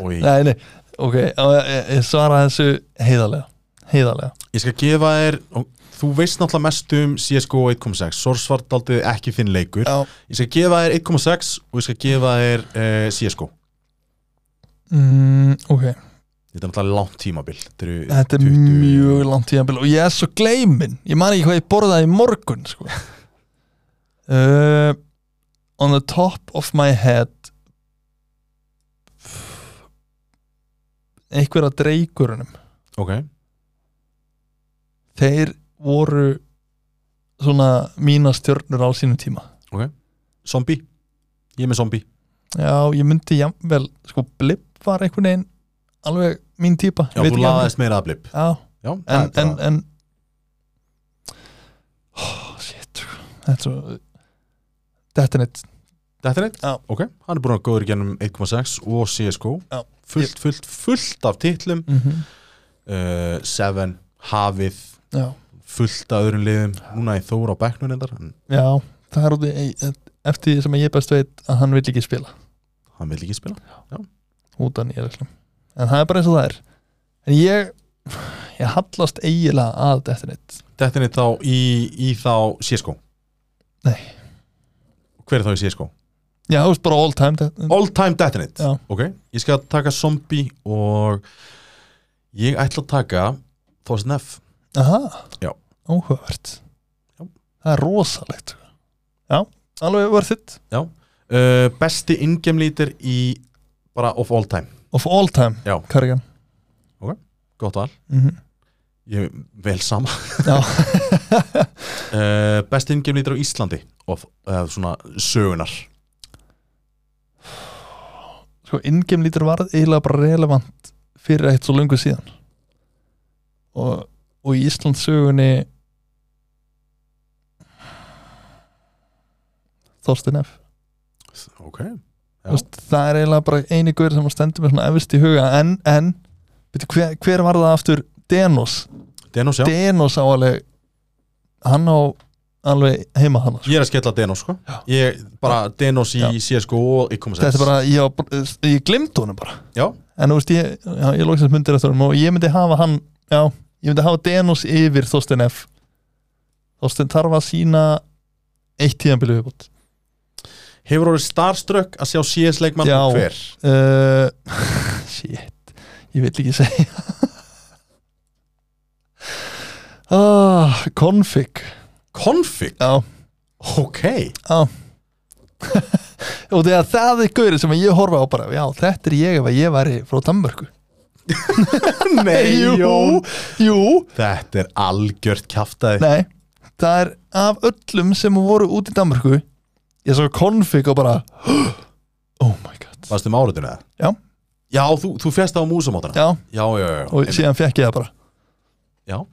Speaker 2: Ói
Speaker 3: nei, nei. ok, ég, ég- ég svara þessu heiðarlega heiðarlega
Speaker 2: Ég skal gefa þér og Þú veist náttúrulega mest um CSGO 1.6 Sors var daldið ekki þinn leikur
Speaker 3: Já.
Speaker 2: Ég skal gefa þér 1.6 og ég skal gefa þér uh, CSGO
Speaker 3: mm, ok
Speaker 2: Þetta er náttúrulega langt tímabil Þetta eru
Speaker 3: Þetta er
Speaker 2: 20
Speaker 3: mjög langt tíðanbíl og ég er svo gleyminn Ég man ekki hvað ég borðaði í morgun sko. uh, On the top of my head einhver að dreikurunum
Speaker 2: Ok,
Speaker 3: Þeir voru svona mína stjörnur á sínum tíma
Speaker 2: zombie Ég er með zombie
Speaker 3: Já, ég myndi jafnvel sko blipp var einhvern veginn alveg mín típa
Speaker 2: Já, þú laðaðist meira að blip
Speaker 3: Já,
Speaker 2: Já, það
Speaker 3: en,
Speaker 2: er bara-
Speaker 3: en, en oh, shit þetta er svo þetta er neitt
Speaker 2: Þetta er eitt?
Speaker 3: Já.
Speaker 2: Ok, hann er búin að góður í genum 1.6 og CSGO
Speaker 3: Já.
Speaker 2: Fullt, fullt, fullt af titlum
Speaker 3: mm
Speaker 2: uh, Seven, Hafið
Speaker 3: já,
Speaker 2: fullt af öðrum liðum núna í Þóra á Becknur endar en
Speaker 3: já, það er út í e, eftir því sem ég best veit að hann vil ekki spila
Speaker 2: hann vil ekki spila
Speaker 3: út af nýja reglum en það er bara eins og það er en ég, ég hallast eiginlega að þetta er neitt
Speaker 2: Þetta er þá í, í þá CSGO
Speaker 3: Nei.
Speaker 2: Hver er þá í CSGO?
Speaker 3: já, þú veist bara all time þetta-
Speaker 2: All time Detonate
Speaker 3: Já.
Speaker 2: Ok, ég skal taka zombie og ég ætla að taka Thorsten F
Speaker 3: aha,
Speaker 2: Já.
Speaker 3: áhugavert
Speaker 2: Já.
Speaker 3: það er rosalegt já, alveg worth it
Speaker 2: uh, Besti ingame leader í bara of all time
Speaker 3: of all time
Speaker 2: Já.
Speaker 3: Carrigan
Speaker 2: gott val
Speaker 3: mm
Speaker 2: ég vel sama
Speaker 3: Já.
Speaker 2: uh, best ingefnýtur á Íslandi og uh, svona sögunar
Speaker 3: sko ingame lítur varð eiginlega bara relevant fyrir eitt svo lungu síðan og, og í Íslands sögunni Þorstein F
Speaker 2: ok Já.
Speaker 3: Þú veist, það er eiginlega bara eini guður sem stendur með svona efist í huga en, en veitu, hver, hver var það aftur Denos,
Speaker 2: Denos, já
Speaker 3: Denos á alveg hann á alveg heima hann sko.
Speaker 2: Ég er að skella Denos sko Ég bara Denos í
Speaker 3: Já.
Speaker 2: CSGO og ég kom að
Speaker 3: þetta er bara, ég, á bara- ég glemd honum bara
Speaker 2: Já,
Speaker 3: en þú veist, ég, já, ég lóksins myndir eftir honum og ég myndi hafa hann, já, ég myndi hafa Denos yfir Þorstein F Þorstein þarf að sína eitt tíðanbili viðbútt
Speaker 2: hefur orðið starstruck að sjá CS leikmann
Speaker 3: Já.
Speaker 2: hver
Speaker 3: uh, shit ég vil ekki segja ah, config
Speaker 2: Config,
Speaker 3: já,
Speaker 2: ok
Speaker 3: já og þegar það er gaurið sem ég horfa á bara, já, þetta er ég ef að ég væri frá Danmörku jú, jú
Speaker 2: Þetta er algjört kjaftaði
Speaker 3: Nei, það er af öllum sem voru út í Danmörku ég sá konfig og bara oh my god
Speaker 2: Varstu með áriðinu eða?
Speaker 3: Já.
Speaker 2: Já, þú, þú fjast á músamótana
Speaker 3: já,
Speaker 2: já, já, já,
Speaker 3: og
Speaker 2: já.
Speaker 3: síðan fekk ég það bara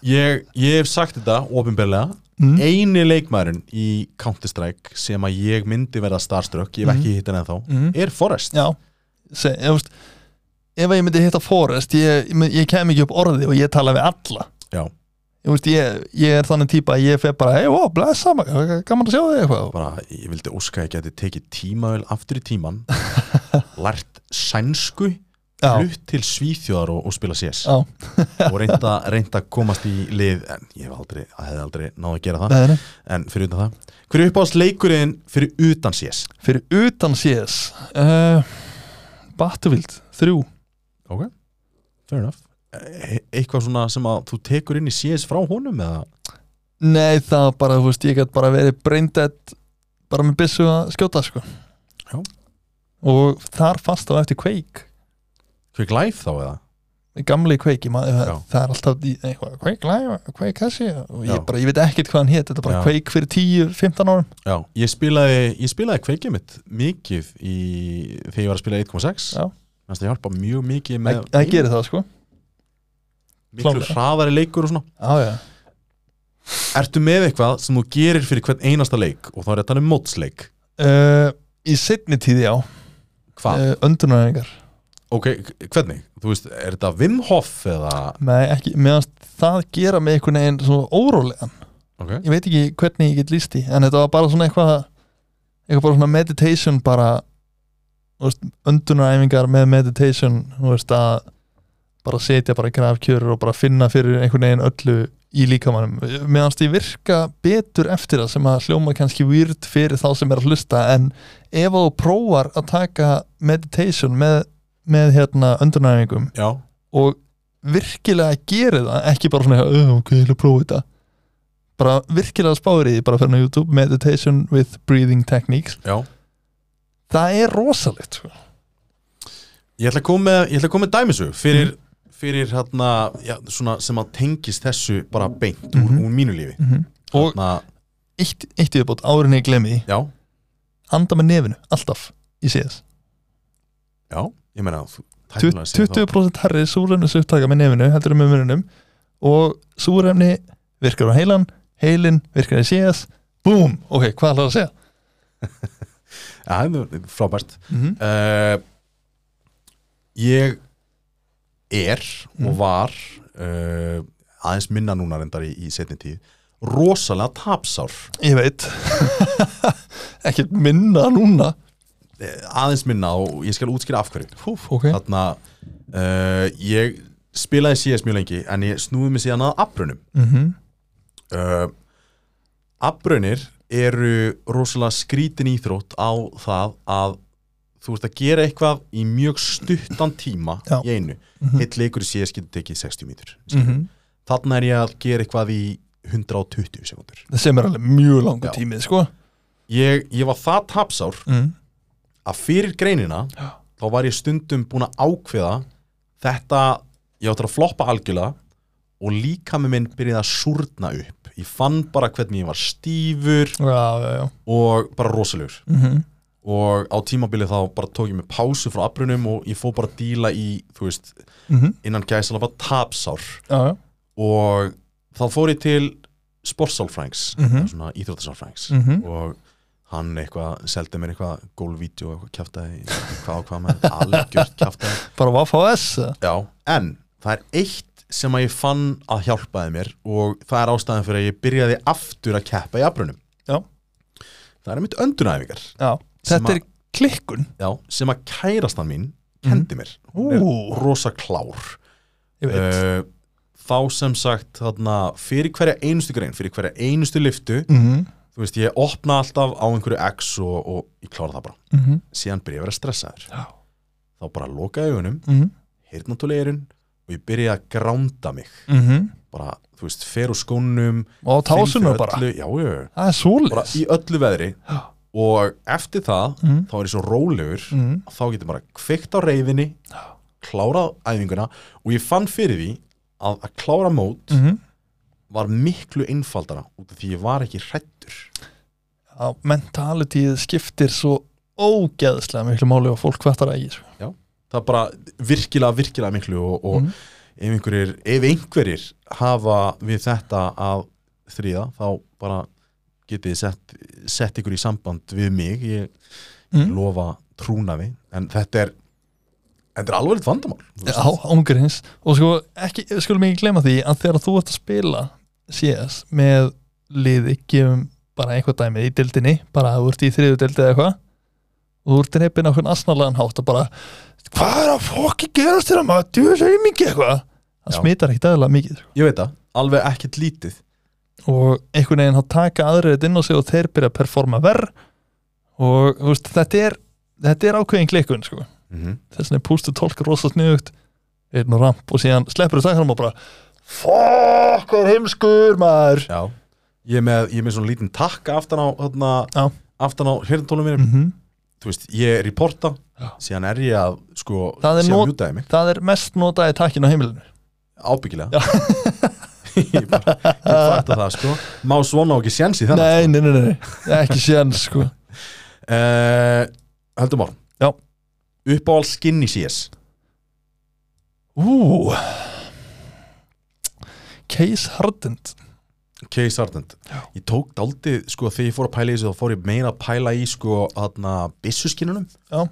Speaker 2: Ég, ég hef sagt þetta ofinbjörlega
Speaker 3: Mm.
Speaker 2: Eini leikmærin í Counter-Strike sem að ég myndi verða starstruck
Speaker 3: Mm.
Speaker 2: ég hef ekki hitt hann eða þá
Speaker 3: Mhm.
Speaker 2: er Forrest
Speaker 3: já, Se, ég, veist, ef að ég myndi hitta Forrest ég, ég- ég kem ekki upp orði og ég tala við alla
Speaker 2: Já.
Speaker 3: ég, veist, ég, ég er þannig típa að ég fer bara hei, ó, blessa, gaman að sjá þig eitthvað
Speaker 2: bara, ég vildi óska að ég geti tekið tímavel aftur í tíman lært sænsku
Speaker 3: já,
Speaker 2: hlut til svíþjóðar og, og spila CS
Speaker 3: já,
Speaker 2: og reynda, reynda að komast í lið en ég hef aldrei, að hefði aldrei náð að gera það
Speaker 3: það er
Speaker 2: en fyrir utan það hver er uppáðast leikurinn fyrir utan CS
Speaker 3: fyrir utan CS uh, Battlefield 3
Speaker 2: ok, fair enough e eitthvað svona sem að þú tekur inn í CS frá honum eða
Speaker 3: Nei, það var bara, þú veist, ég gæti bara verið braindett bara með byssu að skjóta, sko
Speaker 2: Já.
Speaker 3: Og þar fannst það eftir Quake
Speaker 2: Quick Life þá eða
Speaker 3: Gamli Quake, ég maður,
Speaker 2: Já.
Speaker 3: það er alltaf í- eitthvað, Quake Live, Quake þessi og
Speaker 2: Já.
Speaker 3: ég bara, ég veit ekkert hvað hann hét, þetta er bara
Speaker 2: Já.
Speaker 3: Quake fyrir 10-15 árum
Speaker 2: Já, ég spilaði, ég spilaði kveikið mitt mikið í, þegar ég var að spila 1.6
Speaker 3: Já.
Speaker 2: Þannig að hjálpa mjög mikið með
Speaker 3: Það það gerir það, sko
Speaker 2: miklu
Speaker 3: klárlega.
Speaker 2: hraðari leikur og svona
Speaker 3: Já, já,
Speaker 2: Ertu með eitthvað sem þú gerir fyrir hvern einasta leik og þá er þetta um mótsleik
Speaker 3: uh, Í seinni tíð, já,
Speaker 2: Hvað?
Speaker 3: uh, öndunarengar
Speaker 2: ok, hvernig? Þú veist, er þetta Wim Hof eða
Speaker 3: Nei, ekki, meðan það gera með einhvern veginn svona órólegan
Speaker 2: okay.
Speaker 3: ég veit ekki hvernig ég get líst í en þetta var bara svona eitthvað eitthvað bara svona meditation bara þú veist, öndunaræfingar með meditation þú veist að bara setja bara í grafkjörur og bara finna fyrir einhvern veginn öllu í líkamannum meðanst ég virka betur eftir það sem að hljóma kannski weird fyrir þá sem er að hlusta en ef þú prófar að taka meditation með, með hérna öndunaræfingum
Speaker 2: Já,
Speaker 3: og virkilega gerir það ekki bara svona, "Ö, ok, ég vil prófa þetta bara virkilega spáir í því bara fyrir á YouTube, meditation with breathing techniques
Speaker 2: já
Speaker 3: það er rosalegt sko.
Speaker 2: Ég ætla að koma með, ég ætla að koma með dæmisug fyrir, fyrir hérna, já, svona sem að tengist þessu bara beint úr, úr mínu lífi
Speaker 3: Mhm. og
Speaker 2: Þarna,
Speaker 3: eitt, eitt yfirbót árinni ég glemmi því,
Speaker 2: Já,
Speaker 3: anda með nefinu alltaf í CS
Speaker 2: já, ég meina þú-
Speaker 3: Tut-
Speaker 2: tæplega séð þá-
Speaker 3: 20% herri súrefnisupptaka með nefinu heldur með mununum og súrefni virkar á heilan heilin virkar í CS búm, ok, hvað ætlaðu að segja?
Speaker 2: Já, það er frábært
Speaker 3: Mm -hmm.
Speaker 2: uh, Ég er og var uh, aðeins minna núna reyndar í, í setni tíð rosalega tapsár
Speaker 3: Ég veit ekkert minna núna
Speaker 2: Eh, aðeins minna og ég skal útskýra af hverju
Speaker 3: Húf, ok
Speaker 2: þarna uh, ég spilaði CS mjög lengi en ég snúði mig síðan að abbrunum
Speaker 3: mm
Speaker 2: uh, abbrunir eru rosalega skrítin íþrótt á það að þú ert að gera eitthvað í mjög stuttan tíma
Speaker 3: Já.
Speaker 2: í einu heitt leikur í CS getur tekið 60 mínútur
Speaker 3: mm
Speaker 2: mm þarna er ég að gera eitthvað í 120 sekundur
Speaker 3: sem er alveg mjög langur
Speaker 2: Já.
Speaker 3: tími sko
Speaker 2: ég, ég var það tapsár
Speaker 3: mm.
Speaker 2: að fyrir greinina
Speaker 3: Já.
Speaker 2: þá var ég stundum búin að ákveða þetta, ég átti að floppa algjörlega og líka með minn byrjaði að súrna upp ég fann bara hvernig ég var stífur
Speaker 3: já, já, já.
Speaker 2: og bara rosalegur
Speaker 3: Mm -hmm.
Speaker 2: og á tímabilið þá bara tók ég mig pásu frá afbrunum og ég fór bara að díla í þú veist, innan gæsala bara tapsár
Speaker 3: já, já.
Speaker 2: og þá fór ég til sportsálfrængs, mm
Speaker 3: Mhm.
Speaker 2: -hmm. svona íþróttasálfrængs
Speaker 3: Mhm.
Speaker 2: og hann eitthvað seldi mér eitthvað gólvídeó og eitthvað kjaftaði hvað og hvað með algjört kjaftaði
Speaker 3: bara Vafs
Speaker 2: Já, en það er eitt sem að ég fann að hjálpaði mér og það er ástæðan fyrir að ég byrjaði aftur að keppa í afbrunum
Speaker 3: Já.
Speaker 2: Það er mitt öndunaæfingar
Speaker 3: já.
Speaker 2: Sem
Speaker 3: þetta
Speaker 2: að-
Speaker 3: er klikkun
Speaker 2: Já, sem að kærastan mín kendi mér Hún
Speaker 3: Mhm. Ú.
Speaker 2: er rosa klár
Speaker 3: ég veit
Speaker 2: Eh, Þá sem sagt þarna, fyrir hverja einustu grein, fyrir hverja einustu lyftu
Speaker 3: mm -hmm.
Speaker 2: Þú veist, ég opna alltaf á einhverju X og, og ég klára það bara
Speaker 3: mhm,
Speaker 2: Síðan byrja ég að vera stressaður
Speaker 3: Já.
Speaker 2: Þá bara loka augunum,
Speaker 3: Mhm.
Speaker 2: heyrnatúli eirun og ég byrja að gránda mig bara, þú veist, fer úr skónum
Speaker 3: og á tásunum bara
Speaker 2: öllu, já, já, já,
Speaker 3: það er
Speaker 2: bara
Speaker 3: svolis
Speaker 2: í öllu veðri
Speaker 3: Já.
Speaker 2: og eftir það
Speaker 3: Mhm.
Speaker 2: þá er ég svo rólegur
Speaker 3: Mhm.
Speaker 2: að þá getur bara kveikt á reyðinni klárað æfinguna og ég fann fyrir því að að klára mót
Speaker 3: Mhm.
Speaker 2: var miklu einfaldara út af því ég var ekki hrættur
Speaker 3: Já, mentalityið skiptir svo ógeðslega miklu máli og fólk hvartar að sko. í þessu.
Speaker 2: það er bara virkilega, virkilega miklu og, og
Speaker 3: Mhm.
Speaker 2: ef, einhverjir, ef einhverjir hafa við þetta að þrýða þá bara getið þið sett, sett ykkur í samband við mig ég
Speaker 3: Mm.
Speaker 2: lofa trúnaði en þetta er þetta er alveg vandamál þú veist.
Speaker 3: Já, ángurins og sko, ekki, skulum ekki glemma því að þegar þú ert að spila CS með liði, gefum bara einhver dæmið í dildinni, bara að þú ert í þriðu dildi eða eitthvað og þú ert reypin á hvern asnarlegan hátt og bara hvað er að fokki gerast þér að maður djú þessu aumingi eitthvað það
Speaker 2: Já.
Speaker 3: smitar ekkit aðeinslega mikið sko.
Speaker 2: ég veit það, alveg ekkert lítið
Speaker 3: og einhvern veginn að taka aðrið þetta inn á sig og þeir byrja að performa verð og þú veist, þetta er þetta er ákveðin klikkun sko þess vegna er pústu tólk rosa sniðugt einn og ramp og síðan sleppur það hann og bara fokk, hvað er heimskur maður
Speaker 2: já ég er með, ég er með svona lítinn takka aftan á þarna,
Speaker 3: Já.
Speaker 2: aftan á hérntólum mínum
Speaker 3: mm
Speaker 2: þú veist, ég er í porta
Speaker 3: Já.
Speaker 2: síðan er ég að sko
Speaker 3: Það er
Speaker 2: síðan
Speaker 3: not-
Speaker 2: mjútaði mig,
Speaker 3: það er mest notaði takkin á heimilinu
Speaker 2: ábyggilega ég bara, ég fatta það sko má svona á ekki sko. sjens í þennan
Speaker 3: Ah, nei, nei, nei, nei, ekki síðan sko
Speaker 2: uh, höldum árum
Speaker 3: Já.
Speaker 2: uppáhald skinny CS
Speaker 3: ú case hardened
Speaker 2: Case Ardent
Speaker 3: Já.
Speaker 2: ég tók daldið, sko, þegar ég fór að pæla í þessu þá fór ég meira að pæla í, sko, þarna byssuskinunum
Speaker 3: Já.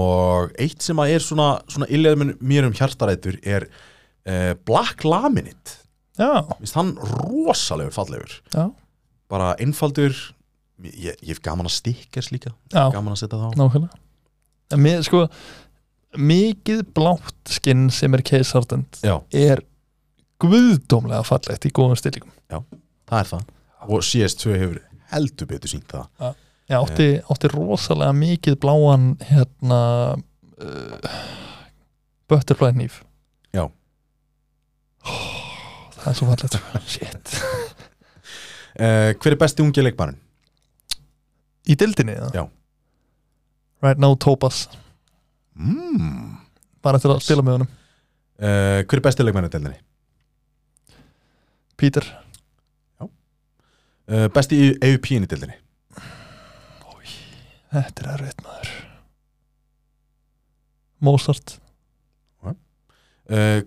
Speaker 2: og eitt sem að er svona, svona illið mér um hjartarætur er uh, Black Laminate
Speaker 3: já,
Speaker 2: Vist, hann rosalegur fallegur
Speaker 3: já,
Speaker 2: bara einfaldur ég, ég hef gaman að stikkers líka
Speaker 3: já
Speaker 2: gaman að setja þá
Speaker 3: nákvæmlega en mér sko mikið blátt skinn sem er case hardened
Speaker 2: Já.
Speaker 3: er guðdómlega fallegt í góðum stillingum
Speaker 2: það er það og CS2 hefur heldur betur sínt það
Speaker 3: Já, átti, átti rosalega mikið bláan hérna uh, butterfly nýf Oh,
Speaker 2: Já.
Speaker 3: Það er svo fallegt sko. Shit
Speaker 2: uh, hver er besti ungi leikmannin?
Speaker 3: Í dildinni það?
Speaker 2: Já.
Speaker 3: Right now Tobas
Speaker 2: Mm.
Speaker 3: Bara eftir að
Speaker 2: Nice.
Speaker 3: spila með honum
Speaker 2: Uh, hver er besti leikmannin delinni?
Speaker 3: Peter
Speaker 2: Uh, besti EUP-in í delinni?
Speaker 3: Þetta er erfitt maður Mozart
Speaker 2: uh,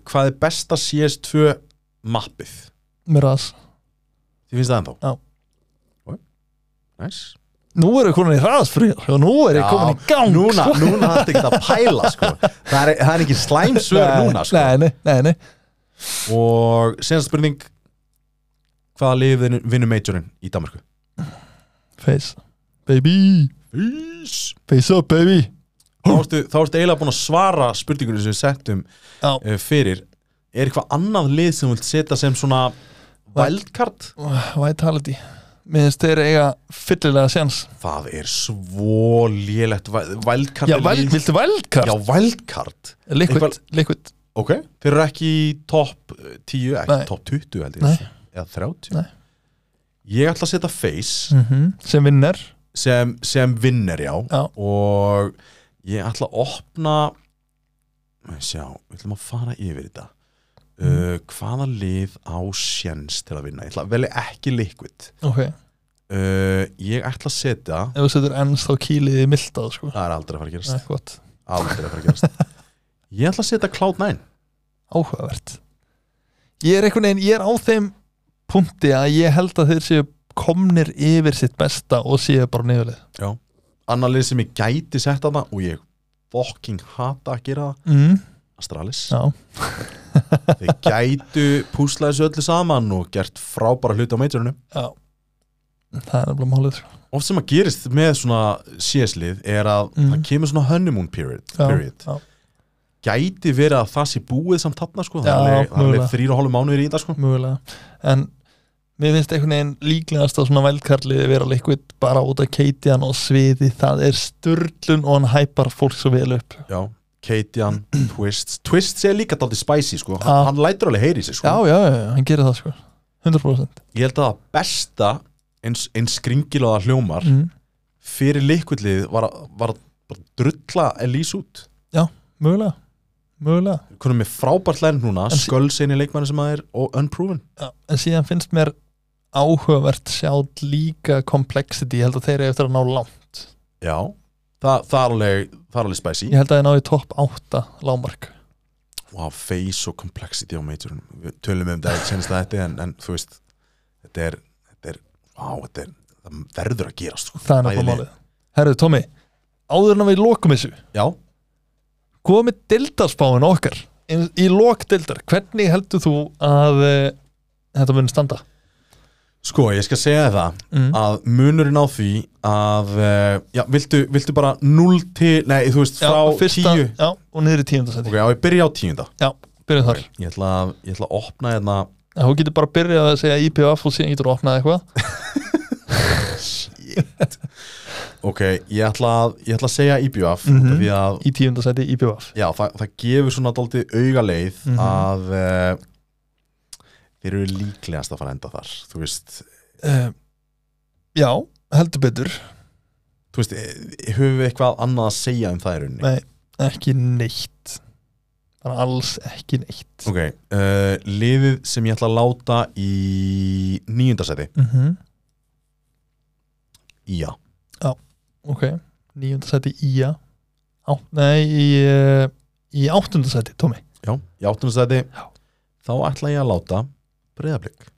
Speaker 2: hvað er besta CS2 mappið?
Speaker 3: Miraz
Speaker 2: Þið finnst það ennþá?
Speaker 3: Já.
Speaker 2: Ok. Nice.
Speaker 3: Nú erum við komin í raðsfrýjar og nú erum við
Speaker 2: Já,
Speaker 3: komin í gang
Speaker 2: Núna,
Speaker 3: sko.
Speaker 2: núna það er ekki að pæla sko. það, er, það er ekki slæm svör
Speaker 3: Nei,
Speaker 2: núna sko.
Speaker 3: Nei, nei, nei, nei.
Speaker 2: og senast spurning hvaða lið vinu- vinnur majorinn í Danmarku?
Speaker 3: Face Baby
Speaker 2: Ís.
Speaker 3: Face up baby
Speaker 2: Þá ertu, þá ertu eiginlega búin að svara spurningunum sem við settum
Speaker 3: Já.
Speaker 2: uh, fyrir er eitthvað annað lið sem þú vilt setja sem svona wildcard?
Speaker 3: Vitality Mér finnst þeir eiga fyllilega séns
Speaker 2: Það er svo lélegt wildcard
Speaker 3: Já,
Speaker 2: er
Speaker 3: væl,
Speaker 2: lið-
Speaker 3: viltu
Speaker 2: Já,
Speaker 3: vældkart?
Speaker 2: wildcard
Speaker 3: Liquid,
Speaker 2: eitthvað-
Speaker 3: liquid
Speaker 2: Ok, þeir eru ekki í topp eh, 10, ekki
Speaker 3: Nei.
Speaker 2: topp 20 held ég
Speaker 3: Nei.
Speaker 2: eða 30
Speaker 3: Nei.
Speaker 2: Ég ætla að setja face
Speaker 3: sem vinnar
Speaker 2: sem, sem vinner já
Speaker 3: Já.
Speaker 2: og Ég ætla að opna Nei, Sjá, við ætlum að fara yfir þetta
Speaker 3: Mm.
Speaker 2: uh, Hvaða lið á sjens til að vinna? Ég ætla að velja ekki liquid
Speaker 3: ok,
Speaker 2: uh, Ég ætla að setja
Speaker 3: ef þú setur ens þá kýliði mildað sko,
Speaker 2: Það er aldrei að fara að gerast
Speaker 3: Nei, gott,
Speaker 2: Aldrei að fara að gerast Ég ætla að setja Cloud9
Speaker 3: áhugavert ég er einhvern veginn, ég er á þeim punkti að ég held að þeir séu komnir yfir sitt besta og séu bara niðurlið
Speaker 2: Annar lið sem ég gæti sett þarna og ég fucking hata að gera það
Speaker 3: mm.
Speaker 2: Astralis
Speaker 3: já,
Speaker 2: Þeir gætu púsla þessu öllu saman og gert frábæra hluti á majorinu
Speaker 3: já það er nefnilega málið sko.
Speaker 2: Oft sem að gerist með svona CS-lið er að
Speaker 3: Mm.
Speaker 2: það kemur svona honeymoon period,
Speaker 3: já,
Speaker 2: period.
Speaker 3: já,
Speaker 2: Gæti verið að það sé búið samt þarna sko, það
Speaker 3: Já,
Speaker 2: er alveg- það er alveg
Speaker 3: mögulega.
Speaker 2: þrýra og hálfu mánuðir í þetta sko
Speaker 3: mögulega, en mér finnst einhvern veginn líklegast að svona veldkarliði vera likvitt bara út af keitiðan og sviði, það er sturlun og hann hæpar fólk svo vel upp
Speaker 2: Já, Katian, Twists Twists er líka daldið spicy sko,
Speaker 3: Já.
Speaker 2: hann lætur alveg heyri í sig sko
Speaker 3: já, já, já, já, hann gerir það sko 100%
Speaker 2: Ég held að það besta eins, eins skringilaða hljómar
Speaker 3: mm.
Speaker 2: fyrir likvillið var, að- var að bara drulla Elise út
Speaker 3: mögulega, mögulega
Speaker 2: Kunum með frábært lærn núna,
Speaker 3: En-
Speaker 2: skölseini leikmanni sem að er og unproven
Speaker 3: Já, en síðan finnst mér áhugavert sjátt líka complexity, ég held að þeir eru eftir að ná langt
Speaker 2: Já, það, það, er, alveg, það er alveg spicy
Speaker 3: ég held að þeir náðu topp 8 lámark
Speaker 2: wow, face og complexity á majorunum við tölum um þetta senast að þetta en, en þú veist þetta er, þetta er, wow, þetta er það verður að gerast sko.
Speaker 3: það er náttúrulega
Speaker 2: Bæði
Speaker 3: málið Herru, Tommy, áður en að við lokum þessu
Speaker 2: já,
Speaker 3: hvað með dildarspáin okkar í, í lok dildar, hvernig heldur þú að e, þetta muni standa?
Speaker 2: sko ég skal segja þér það
Speaker 3: Mm.
Speaker 2: að munurinn á því að eh, já, viltu, viltu bara 0 til, nei þú veist frá 10
Speaker 3: já, og niður í tíundasæti
Speaker 2: ok, já ég byrja á 10
Speaker 3: já, byrjum þar,
Speaker 2: ég ætla að, ég ætla að opna hérna
Speaker 3: En þú getur bara að byrja að segja IPF og síðan getur þú opnað eitthvað
Speaker 2: ok, ég ætla að, ég ætla að segja IBF mm
Speaker 3: Mhm.
Speaker 2: því að
Speaker 3: í tíundasæti IPF
Speaker 2: já, það, það gefur svona daldið auga leið
Speaker 3: Mhm.
Speaker 2: að uh, þeir eru líklegast að fara að enda þar þú veist,
Speaker 3: uh, já, heldur betur
Speaker 2: þú veist eh, höfum við eitthvað annað að segja um það í rauninni
Speaker 3: Nei. ekki neitt bara alls ekki neitt
Speaker 2: ok, uh, liðið sem ég ætla að láta í nýjundasæti
Speaker 3: mm -hmm.
Speaker 2: já,
Speaker 3: ok, nýjöndasæti í að á, nei, í, eh, í áttundasæti, Tómi
Speaker 2: já, í áttundasæti
Speaker 3: Já.
Speaker 2: þá ætla ég að láta breyðablík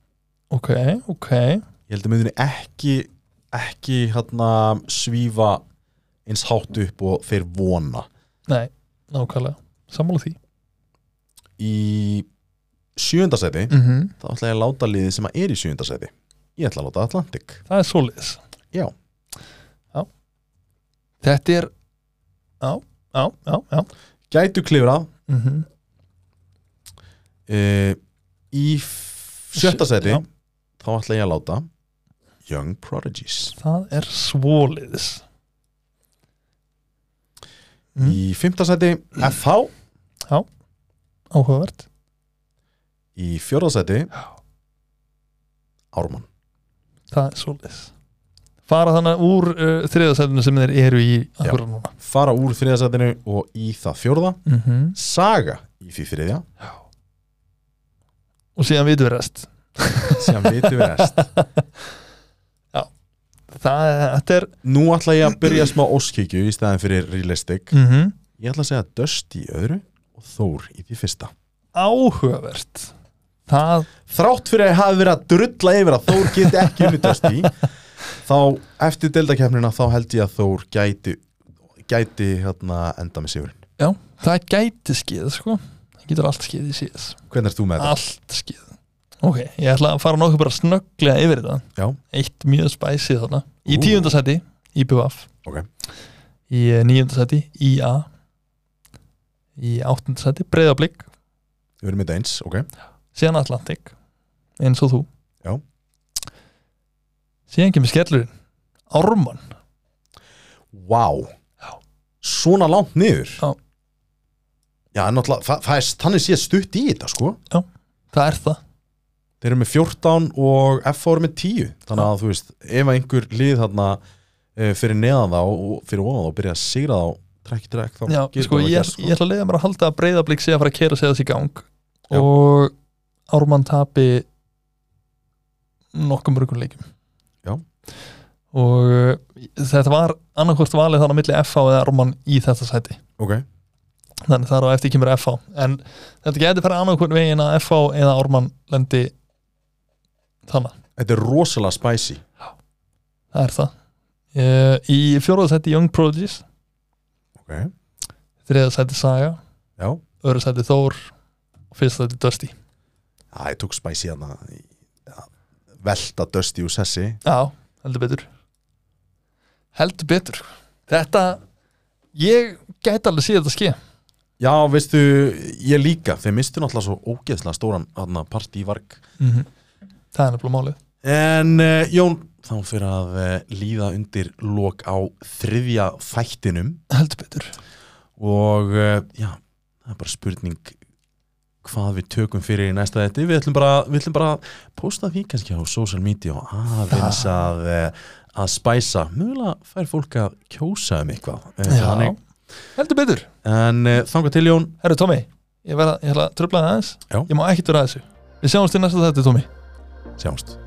Speaker 3: ok, ok,
Speaker 2: ég held að myndinni ekki ekki hérna svífa eins hátt upp og þeir vona
Speaker 3: nei, nákvæmlega sammála því
Speaker 2: í sjöundasæti
Speaker 3: mm -hmm.
Speaker 2: þá ætla ég að láta liðið sem að er í sjöundasæti ég ætla að láta Atlantic
Speaker 3: það er svoleiðis
Speaker 2: Já.
Speaker 3: já þetta er já, já, já, já
Speaker 2: gætu klifrað
Speaker 3: mm
Speaker 2: uh, í f- sjötta sæti
Speaker 3: Já.
Speaker 2: þá ætla ég að láta Young Prodigies
Speaker 3: það er svoleiðis Mm.
Speaker 2: í fymta sæti FH
Speaker 3: áhugavert
Speaker 2: í fjörða sæti
Speaker 3: já
Speaker 2: Ármann
Speaker 3: það er svolítið fara þannig úr uh, þriðasætinu sem þeir eru í akkurat núna
Speaker 2: fara úr þriða sætinu og í það fjörða
Speaker 3: mm -hmm.
Speaker 2: Saga í því þriðja
Speaker 3: og síðan vitum við rest
Speaker 2: sem vitum við rest
Speaker 3: það er, þetta er
Speaker 2: nú ætla ég að byrja smá óskikju í staðin fyrir realistic
Speaker 3: mm -hmm.
Speaker 2: ég ætla að segja Dust í öðru og Þór í því fyrsta
Speaker 3: áhugavert það,
Speaker 2: þrátt fyrir að ég hafi verið að drulla yfir að Þór geti ekki unni Dusty þá eftir deildakefnina þá held ég að Þór gæti gæti hérna enda með sigurinn
Speaker 3: já, það gæti skið sko, það getur allt skið í síðas
Speaker 2: hvernig er þú með þetta?
Speaker 3: allt skið ok, ég ætla að fara nokkuð bara snögglega yfir þetta
Speaker 2: Já.
Speaker 3: eitt mjög spæsið þarna í
Speaker 2: Ú.
Speaker 3: tíundasæti, IPVF
Speaker 2: Ok.
Speaker 3: í eh, níundasæti, IA í áttundasæti, breyðablík Ah.
Speaker 2: Við erum með þetta eins, ok
Speaker 3: síðan Atlantic eins og þú
Speaker 2: Já.
Speaker 3: síðan kemur skellurinn Ármann
Speaker 2: Wow
Speaker 3: Já.
Speaker 2: Svona langt niður
Speaker 3: Já.
Speaker 2: Já, en náttúrulega, það, það er þannig séð stutt í þetta sko
Speaker 3: það er það
Speaker 2: Þeir eru með 14 og FH eru með 10 Þannig að þú veist, ef að einhver lið þarna eh, fyrir neðan þá og fyrir ofan þá og byrja að sigra þá trekk í trekk þá
Speaker 3: Já,
Speaker 2: gerir
Speaker 3: sko,
Speaker 2: það
Speaker 3: ég,
Speaker 2: ekki,
Speaker 3: ég ætla að leiða mér að halda að breyðablík sé að fara að kera sig þessi í gang
Speaker 2: Já.
Speaker 3: og Ármann tapi nokkuð mörgum leikjum
Speaker 2: Já.
Speaker 3: og uh, þetta var annarkvort valið þannig á milli FH eða Ármann í þetta sæti
Speaker 2: ok,
Speaker 3: þannig þar á eftir kemur FH en þetta geti fara annarkvort veginn að FH eða Ármann lendi þannig,
Speaker 2: þetta er rosalega spicy
Speaker 3: það er það Uh, í fjóruða sæti Young Prodigies
Speaker 2: ok,
Speaker 3: þriða sæti Saga,
Speaker 2: já
Speaker 3: öðru sæti Þór og fyrsta sæti Dusty
Speaker 2: Já, ég tók spicy hana Já, velta Dusty úr sessi
Speaker 3: Já, heldur betur Heldur betur Þetta, ég gæti alveg síðan þetta ske
Speaker 2: Já, veistu, ég líka þeir mistu náttúrulega svo ógeðslega stóran hana, partívarg
Speaker 3: Það er nefnilega málið
Speaker 2: En uh, Jón, þá fyrir að uh, líða undir lok á þriðja þættinum
Speaker 3: Heldur betur
Speaker 2: og uh, já, það er bara spurning hvað við tökum fyrir í næsta þetta við ætlum bara, við ætlum bara að posta því kannski á social media og aðeins að, uh, að spæsa mjögulega fær fólk að kjósa um eitthvað eh, þannig.
Speaker 3: Heldur betur
Speaker 2: en uh, þangað til Jón
Speaker 3: Herru Tómi, ég verða, ég ætla að tröfla það aðeins
Speaker 2: Já.
Speaker 3: Ég má ekkert vera að þessu Við sjáumst í næsta þetta Tómi
Speaker 2: sjáumst